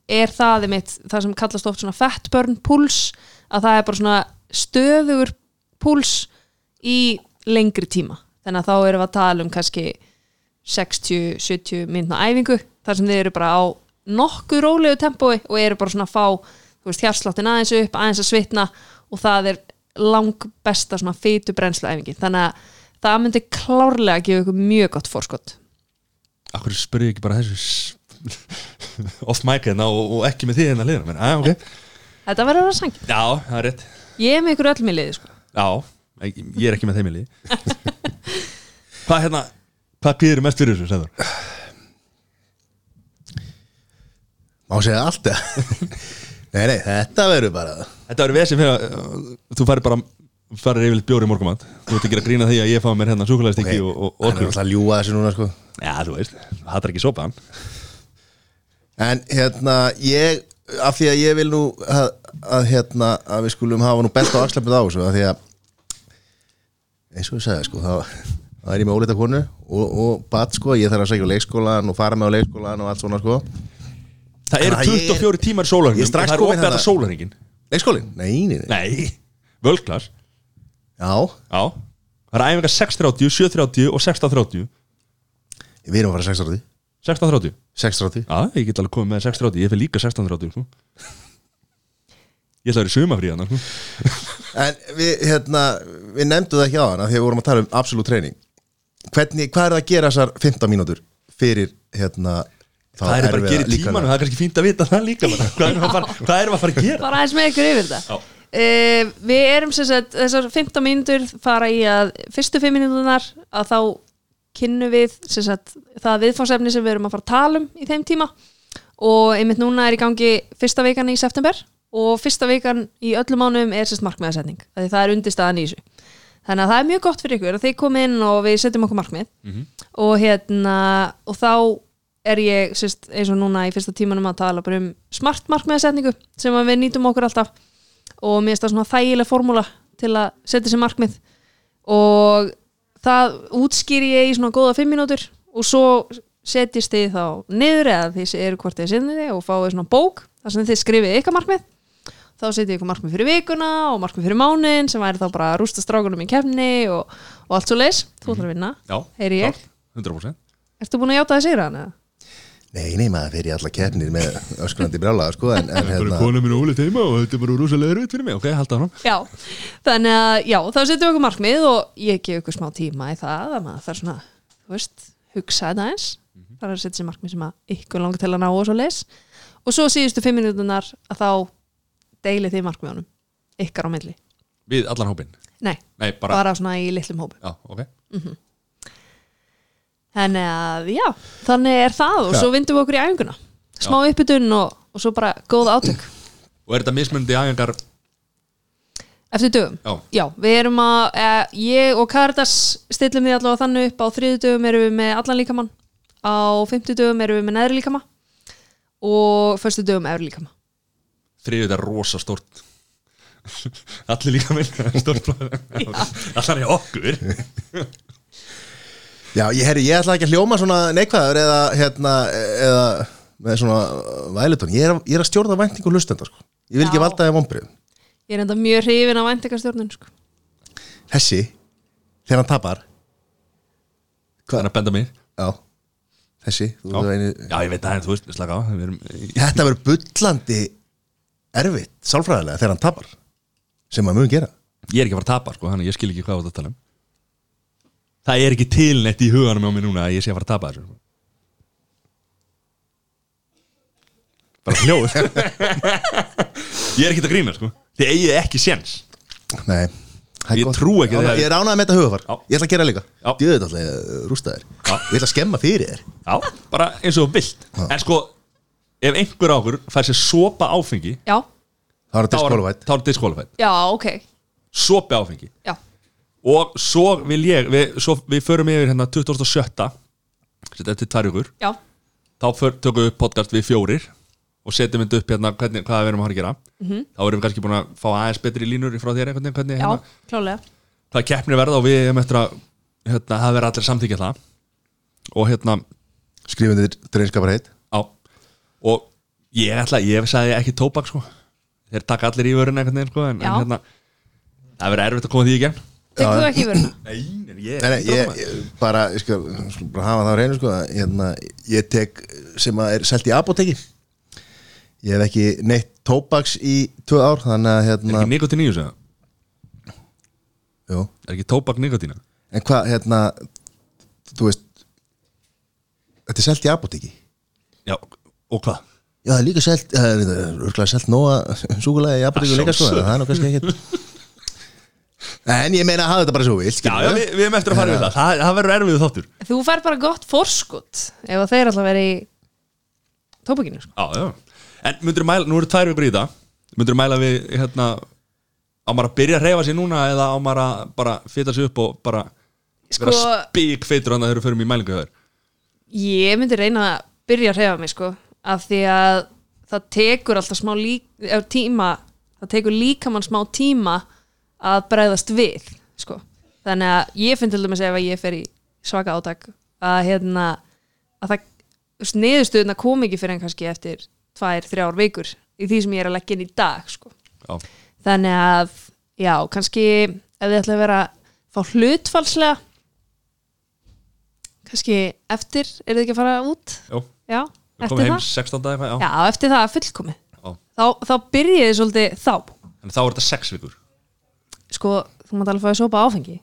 C: er það mitt, það sem kallast oft svona fat burn púls, að það er bara svona stöðugur púls í lengri tíma þannig að þá erum við að tala um kannski 60-70 mínutna æfingu þar sem þið eru bara á nokkuð rólegu tempói og eru bara svona að fá þú veist, hjartsláttin aðeins upp, aðeins að svitna og það er lang besta svona fytu brennslu æfingi þannig að það myndi klárlega gefa ykkur mjög gott fórskott
A: akkur spurði ég ekki bara þessu *laughs* s- off mic hérna og, og ekki með því hérna leiðina menn, að, ok
C: Þetta verður að vera sangi
A: Já, það er rétt
C: Ég er með ykkur öll mér liði sko
A: Já, ég ég er ekki með *laughs* þeim í liði Hvað hérna Hvað býður mest fyrir þessu, segður?
B: Má segja allt eða? *laughs* Nei, nei, þetta verður bara
A: Þetta verður vesið fyrir að uh, þú farir bara farir yfirleitt bjóri í morgumat Þú ert ekki að grína því að ég fá mér hérna súkulæðist ekki og, og
B: Hann er
A: orkur
B: alltaf að ljúga þessu núna sko
A: Já, þú veist, hattar ekki sopan
B: En hérna, ég af því að ég vil nú að, að hérna, að við skulum hafa nú besta á axlefnið á þessu, af því að eins og ég sagði sko, þá, þá er ég með óleita konu og, og bat sko, ég þarf að segja á leikskólan og fara með á leikskólan og allt svona sko
A: Það eru
B: Ah, ég er-
A: 24 tímar í sólarhingum og
B: ég er strax
A: það er opið
B: kominn
A: að
B: þarna.
A: sólarhingin
B: Leikskólin? Nei, nei, nei.
A: hérna- Nei, völklas
B: Já,
A: Já, það er æfingar 6.30, 7.30 og 16.30
B: við erum að fara 6.30
A: 16.30
B: 6.30
A: Já, ég get alveg komið með 6.30, ég fyrir líka 16.30 sko. Ég ætla að vera í sumafríðan sko.
B: En við, hérna, við nefndum það ekki á hana Þegar við vorum að tala um absolutt treyning Hvernig, Hvað er það að gera þessar 15 mínútur Fyrir hérna þá
A: Það er bara að gera
B: erfiða
A: í
B: líkamlega?
A: tímanum, það er kannski fínt að vita það líka bara. Hvað erum við að *laughs* fara, hvað erum við að, fara að gera?
C: bara aðeins með ykkur yfir þetta
A: Já.
C: Uh, við erum sem sagt þessar 15 mínútur fara í að fyrstu 5 mínúturnar að þá kynnu við sem sagt það viðfársefni sem við erum að fara að tala um í þeim tíma og einmitt núna er í gangi fyrsta vikan í september og fyrsta vikan í öllum mánuðum er sérst markmiðasetning af því það er undirstaðan í þessu þannig að það er mjög gott fyrir ykkur að þið komið inn og við setjum okkur markmið og hérna og þá er ég sérst eins og núna í fyrsta tímanum að tala bara um smart markmiðasetningu sem að við nýtum okkur alltaf og mér finnst það svona þægileg formúla til að setja sér markmið og það útskýri ég í svona góða fimm mínútur og svo setjist þið þá niður eða þið eru hvort þið sinni þið og fáið svona bók þar sem þið skrifið ykkar markmið þá setjið ykkur markmið fyrir vikuna og markmið fyrir mánin sem væri þá bara að rústa strákunum í kefni og, og allt svo leis þú ætlar að vinna,
A: Já,
C: heyri ég
A: klárt, 100%
C: Ertu búin að játa það sigra hann eða?
B: Nei, nei, maður fyrir í alla keppnir með
A: *laughs*
B: öskrandi brjálaga, sko, en, en
A: Það er
B: hérna,
A: konu mín og Óli teima og þetta er bara rosalega erfitt fyrir mig Ok, halda hann
C: Já, þannig að já, þá setjum við okkur markmið og ég gef okkur smá tíma í það að maður þarf svona, þú veist, hugsa þetta eins þarf að setja sér markmið sem að ykkur langar til að ná og svo leis og svo síðustu fimm minútunar að þá deilið þið markmiðunum, ykkar á milli
A: Við allan hópinn
C: Nei,
A: Nei, bara,
C: bara svona í litlum hópu
A: Já, ok
C: Þannig að já, þannig er það og svo vindum við okkur í æfinguna smá uppbytun og, og svo bara góð átök
A: Og er þetta mismunandi æfingar
C: Eftir dögum?
A: Já.
C: við erum að, e, ég og Karitas stillum því allavega þannig upp á þriðu dögum erum við með allan líkamann, á fymtu dögum erum við með neðri líkama og fyrstu dögum efri líkama.
A: Þriðið er rosa stort *laughs* Allir líka minn Stort
C: *laughs*
A: Allar er okkur
B: já, ég, herri, ég ætla ekki að hljóma svona neikvæður eða, hérna, eða með svona vælutón, ég er, að- ég er að stjórna væntingu hlustenda, sko, ég vil ekki
C: Já.
B: valda þeim vombriðum,
C: Ég er enda mjög hrifin af væntingastjórnun, sko.
B: þessi þegar hann tapar
A: Það er að benda mér
B: já, þessi, þú
A: Já,
B: veist einu
A: já ég veit það en þú veist, slaka á við erum,
B: þetta verður bullandi erfitt, sálfræðilega, þegar hann tapar sem maður mun gera
A: Ég er ekki að fara að tapa sko, þannig að ég skil ekki hvað þú ert að tala um Það er ekki tilnett í huganum á mér núna að ég sé að fara að tapa þessu sko. Bara hljóð *laughs* Ég er ekki að grína sko Þið eigið ekki séns
B: Nei, það er
A: Ég
B: gott.
A: trúi ekki
B: Já,
A: þegar-
B: Ég er ánægð með þetta hugafar,
A: Já.
B: ég ætla að gera líka
A: Já.
B: Djöðið ætla ég að rústa þér
A: Já.
B: Ég ætla að skemma fyrir þér
A: Já, bara eins og þú vilt En sko, ef einhver á okkur fær sér sopa áfengi
C: Já,
B: Það var
A: þá
B: að
A: er-
B: diskóluvætt
A: Þá er diskólafætt
C: já, ok,
A: Sopi áfengi
C: já,
A: Og svo vil ég, við, svo, við förum yfir hérna 2007 Þetta er til tvær ykkur
C: já,
A: þá för, tökum við upp podcast við fjórir og setjum þetta upp hérna hvernig, hvað við erum að fara að gera
C: Mhm.
A: þá erum við kannski búin að fá aðeins betri línur frá þér einhvern veginn hvernig
C: já,
A: hérna,
C: klálega.
A: hvað keppnir verða og við erum eftir að hérna, það verða allir samþykja það og hérna,
B: Skrifundir dreinskapar heitt
A: á og ég ætla, ég sagði ekki tóbak sko þeir taka allir í vörun einhvern veginn sko en, en
C: Já.
A: hérna, það verður erfitt að koma því í gegn
C: Tekur þú ekki í vöruna?
A: Nei, ég,
B: Nei, nei, ég, ég bara, ég skal, ég skal bara hafa það á reynu sko, að, hérna, Ég tek sem að er selt í apoteki Ég hef ekki neitt tóbaks í tvö ár Þannig að
A: er
B: hérna
A: ekki nikotín í þessu eða?
B: jú.
A: er ekki tóbak nikotína
B: En hvað, hérna Þú veist Þetta er selt í apoteki
A: já, og hvað?
B: Já, það er líka selt, það er örgulega selt nóga súkulega í apoteku
A: Að
B: líka sko,
A: sjálfsögðu.
B: það er nú kannski ekkert En ég meina að hafa þetta bara svo vilt
A: Já, já, við, við erum eftir að fara við það, það, það verður erfið þáttur
C: Þú fær bara gott forskot ef að þeir alltaf verið í tópakinu, sko.
A: Já, já. En myndur mæla, nú eru tvær vikur í þetta Myndur mæla við, hérna Á maður að byrja að reyfa sér núna Eða á maður að bara fita sér upp og bara
C: Sko-
A: Vera spík feitur hann að þeirra förum í mælingu hjá þér
C: Ég myndi reyna að byrja að hreyfa mig sko af því að það tekur alltaf smá lík, eh, tíma það tekur líkamann smá tíma að bregðast við sko. þannig að ég finn til dæmis ef að ég fer í svaka átak að hérna að það niðurstöðuna kom ekki fyrir en kannski eftir tvær, þrjár vikur í því sem ég er að leggja inn í dag sko.
A: Já.
C: þannig að já, kannski ef þið ætla að vera fá hlutfalslega kannski eftir er þið ekki að fara út
A: Jó,
C: já,
A: við
C: eftir
A: komum heim
C: það
A: 16. eitthvað, já.
C: já, eftir það fullkomi
A: Já.
C: þá, þá byrjið þið svolítið þá
A: En þá er þetta 6 vikur.
C: sko, þú mátt alveg fá að sopa áfengi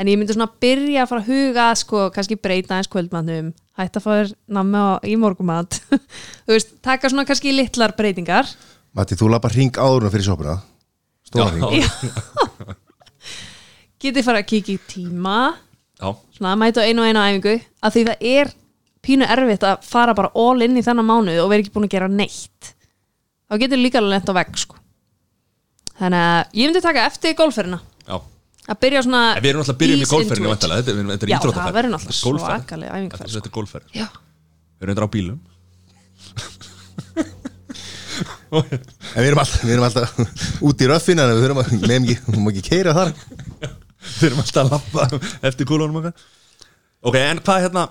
C: en ég myndi svona byrja að fara að huga að, sko, kannski breyta eins kvöldmannum hætta að fá þér nammi á, í morgumat *laughs* þú veist, taka svona kannski litlar breytingar
B: Matti, þú lapar hring áðurna fyrir sjópuna Stóra
A: já.
B: hring
C: getið fara að kíkja í tíma
A: já.
C: svona að mæta á einu og einu æfingu að því það er pínu erfitt að fara bara all in í þennan mánuð og vera ekki búin að gera neitt þá getur líka alveg lent á vegg sko. þannig að ég myndi taka eftir golferina
A: já.
C: að byrja svona
A: En við erum alltaf að byrja með
C: ease into
A: golfferðinu
C: it.
A: vantalega, þetta er, þetta er
C: Já,
A: íþróttaferð.
C: það verður náttúrulega
A: Þetta er golfferð.
C: svakaleg sko. æfingaferð,
A: Þetta er- Þetta er golfferð.
C: Já.
A: Við erum þetta á *laughs* bílum.
B: En við erum alltaf, við erum alltaf út í röffin En við þurfum að, við ekki, við má ekki keira þar
A: Við erum alltaf að lappa eftir kúlunum okkar. Ok, en hvað hérna,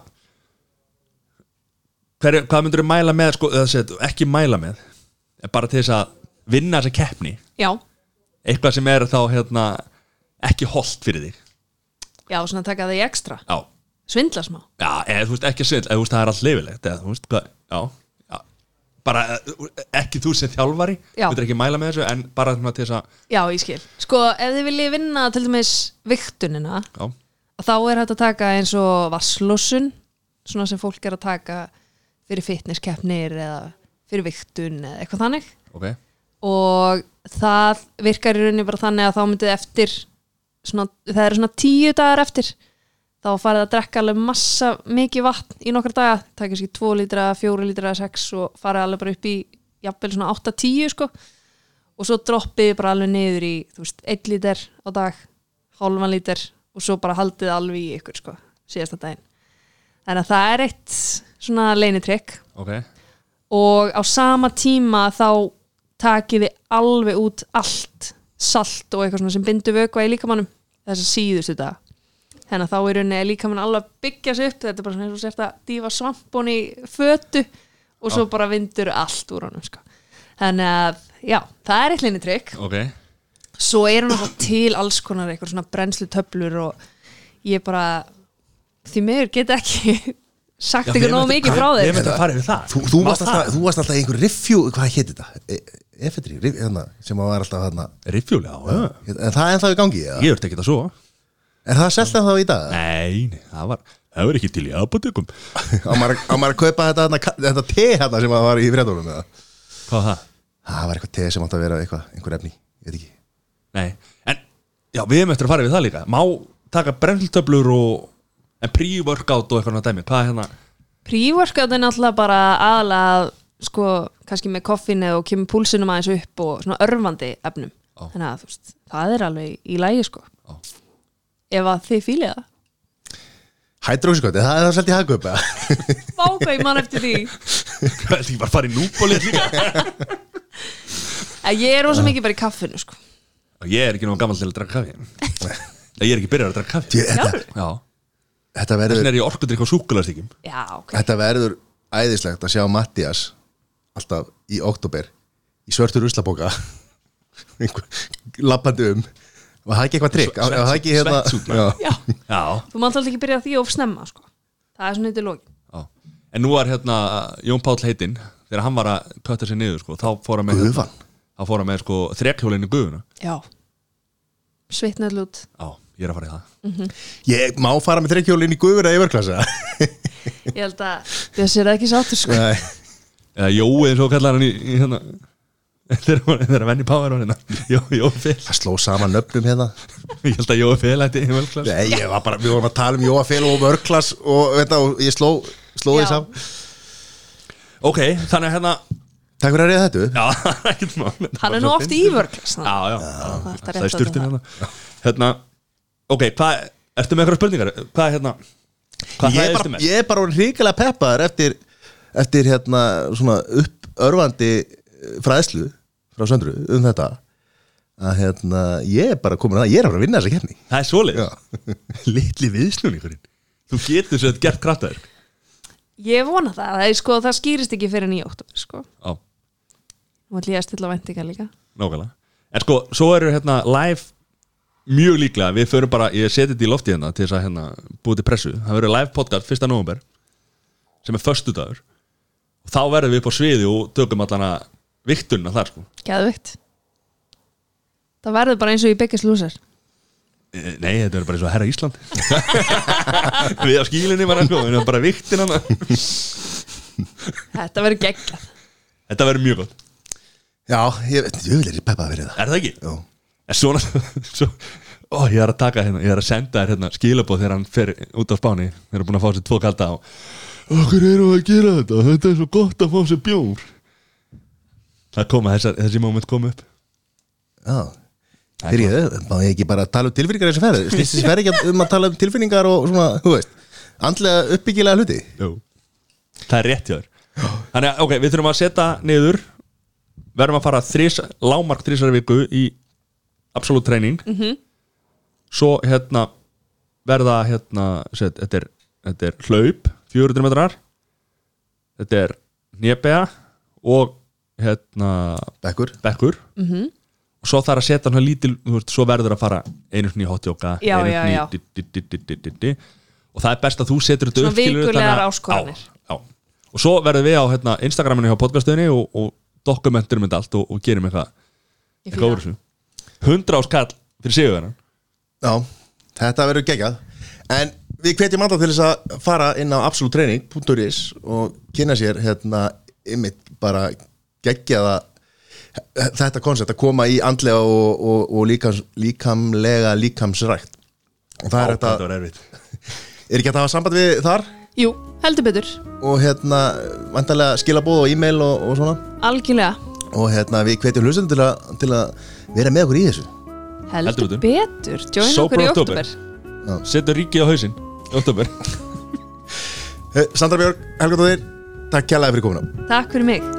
A: hver, hvað myndur við mæla með, sko, eða set, ekki mæla með, en bara til þess að vinna þessa keppni,
C: já,
A: eitthvað sem er þá hérna ekki holdt fyrir þig.
C: já, svona taka það í ekstra
A: Já.
C: svindla smá
A: Já, eða þú veist ekki svindl, eða þú veist það er allt leifilegt eða þú veist hvað, já, já bara eh, ekki þú sem þjálfari
C: Já.
A: þú veitir ekki að mæla með þessu en bara svona til þess að
C: já, ég skil sko, ef þið viljið vinna til dæmis viktunina
A: já,
C: þá er hægt að taka eins og vasslossun svona sem fólk er að taka fyrir fitnesskeppnir eða fyrir viktun eða eitthvað þannig
A: ok,
C: og það virkar í rauninni bara þannig að þá myndið eftir svona, það eru svona tíu dagar eftir þá farið að drekka alveg massa mikið vatn í nokkra daga takk kannski 2 lítra, 4 lítra, 6 og farið alveg bara upp í jafnvel svona 8-10 sko og svo droppið bara alveg niður í þú veist, 1 lítar á dag hálfan lítar og svo bara haldið alveg í ykkur sko, síðasta daginn þannig að það er eitt svona leinitrykk
A: ok
C: og á sama tíma þá takið þið alveg út allt salt og eitthvað svona sem bindur vökva í líkamannum þess að síðustu þetta þannig að þá er rauninni að líkamann alveg að byggja sig upp þetta er bara svona eins og sért að dýfa svampun í fötu og svo bara vindur allt úr honum sko. þannig að já, það er eitt linni trygg
A: ok,
C: svo er hann alltaf til alls konar eitthvað svona brennslu töflur og ég bara því meður get ekki *laughs* sagt ykkur nóg mikið frá
A: Við
C: þeir
A: myndum að fara yfir það
B: Þú, þú,
A: Má
B: varst
A: það?
B: alltaf, þú varst alltaf í einhver review, hvað hétt þetta? E Efetri, review, hérna, sem að var alltaf hérna
A: Riffjúli, já, já,
B: En það er ennþá í gangi, eða?
A: ég verði ekki það svo
B: Er það selt ennþá í dag?
A: Nei, nei, það var, það var ekki til í apotekum
B: Á maður á maður að kaupa þetta, hérna, ka- þetta te hérna sem að var í fredónum, eða?
A: Hvað var það?
B: Það var eitthvað te sem átt að vera eitthvað, einhver efni, ég veit ekki
A: Nei, en já, við myndum að fara yfir það líka Má taka brennltöflur og en pre-workout og eitthvað svona dæmi Hvað er hérna,
C: Pre-workout er náttúrulega bara aðalega sko, kannski með koffinu og kemur púlsinum aðeins upp og svona örfandi efnum
A: Já.
C: þannig að þú veist, það er alveg í lægi sko
A: Já.
C: ef að þið fílið það
B: Hydroxycot, það er það selt í hagkaup, eða?
C: Vá hvað ég mann eftir því
A: hvað er því bara að fara í núbólið líka
C: að ég er rosa mikið bara í kaffinu sko
A: *laughs* Og ég er ekki nóg gammal til að draka kaffi Ég er ekki byrjar að draka kaffi
B: Ég- Þetta,
A: Já,
B: þetta verður
A: þannig er ég orkudrykk á súkulastíkjum
C: Já, ok,
B: Þetta verður æðislegt að sjá Mattias alltaf í oktober í svörtur *laughs* ruslaboka lappandi um var það ekki eitthvað trikk?
A: Sve-
B: Var það ekki hérna-
A: svetsút,
B: Já.
A: maður.
C: já
A: Já,
C: Þú mátt alltaf ekki byrja á því of snemma sko Það er svona yfir lókin
A: já En nú var hérna Jón Páll heitinn þegar hann var að kötta sér niður sko, þá fór hann með
B: Gufan.
A: þá fór hann með sko þrekhjólinn í guðuna
C: Já Svitnað lút
A: Já, ég er að fara í það
B: Ég má fara með trikkhjólinn í guður að yfirklassa
C: Ég held að Bjössi er ekki sáttur sko
B: Nei,
A: Eða Jói eins og kallar hann í, í hérna þegar hann þegar hann venni power hann hérna Jói, Jói fél
B: það sló saman nöfnum hérna
A: Ég held að Jói fél hætti í völklass
B: Nei, ég var bara, við vorum að tala um Jóa Fél og Mörklass og, veit það, og ég sló, sló því
C: Já.
B: saman
A: Ok, þannig að hérna
B: Takk fyrir að reyða þetta
A: Já, *laughs* ekkert mál
C: Hann er nú oft í vörklass
A: Já, já,
C: Það er
A: já.
C: alltaf
A: það
C: rétt
A: er styrtin
C: að
A: hérna Hérna, ok, hvað Ertu með eitthvað spurningar? Hvað er hérna Hvað
B: Ég er
A: hræðistu
B: bara,
A: með?
B: ég er bara orðinn hrikalega peppaður eftir, eftir hérna svona uppörfandi eh, fræðslu frá söndru um þetta að hérna ég er bara komin að það, ég er að fara að vinna þessa kefni
A: Það er svoleið
B: Já,
A: *laughs* litli viðsnúningurinn þú getur svo að gert kraftaður
C: Ég vona það, það, er, sko, það skýrist ekki fyrir nýja óttum sko.
A: á,
C: Nú ætlum ég að stilla væntingar líka
A: nákvæmlega en sko, svo eru hérna live mjög líklega, við förum bara ég seti þetta í lofti hérna til þess að hérna búið til pressu, það verður live podcast 1. november sem er föstudagur og þá verðum við upp á sviði og tökum allana viktunna þar sko
C: Geðvikt Það verður bara eins og í Biggest Loser
A: Eh, Nei, þetta er bara eins og herra Ísland *laughs* Við á skílinni bara sko, við erum bara viktin *laughs* hana
C: Þetta verður geggjað
A: Þetta verður mjög gott,
B: Já, ég veit, ég vil er í peppa fyrir það
A: er það ekki?
B: Jú.
A: En svona svo, ó, Ég er að taka hérna, ég er að senda þér hérna skilabóð þegar hann fer út á Spáni Þeir eru búin að fá sér tvo kalda á Okkur eru að gera þetta, þetta er svo gott að fá sér bjór Það koma, þessa, þessi moment kom upp
B: Já Fyrir ég, má ég ekki bara tala um tilfinningar þessi ferð Snýst þessi ferð ekki um að tala um tilfinningar og svona, þú veist Andlega uppbyggilega hluti
A: Jú. Það er rétt hjá þér Þannig að, ok, við þurfum að setja niður Verðum að fara þrís, lámark þrísar í viku í absolutt treyning -hmm. Svo hérna verða hérna set, þetta, er, þetta er hlaup 400 metrar Þetta er nébega og hérna
B: Bekkur
A: bekkur -hmm.
C: Mhm.
A: og svo þarf að setja hann lítil þú veist, svo verður að fara einu sinni í hotjóka
C: Já, já, já.
A: og það er best að þú setur þetta
C: Svona
A: upp skilurðu,
C: vikulegar
A: þannig að-
C: áskoranir.
A: já, já. og svo verðum við á hérna, Instagraminu hjá podcastunni og, og dokumenturum þetta allt og, og gerum eitthvað
C: Ég
A: eitthvað úr
C: fíla.
A: þessu 100 áskall fyrir sigurverðan
B: Já, þetta verður geggjað En við hvetjum alltaf til þess að fara inn á absolutraining.is og kynna sér hérna ymmit bara geggjaða þetta koncept að koma í andlega og, og, og líkam, líkamlega líkamsrækt og það er þetta,
A: var erfitt
B: er ekki hægt að hafa samband við þar
C: Jú, heldur betur,
B: og hérna vantarlega skilabóð og e-mail og, og svona
C: algjörlega
B: og hérna við hvetjum hlustum til, að- til að vera með okkur í þessu
C: Heldur,
A: Heldur
C: betur, join
A: Sober
C: okkur í
A: October.
C: oktober
A: setur ríkið á hausinn í oktober
B: Eh, Sandra Björg, Helga Dóðir, takk kjærlega fyrir komuna
C: Takk fyrir mig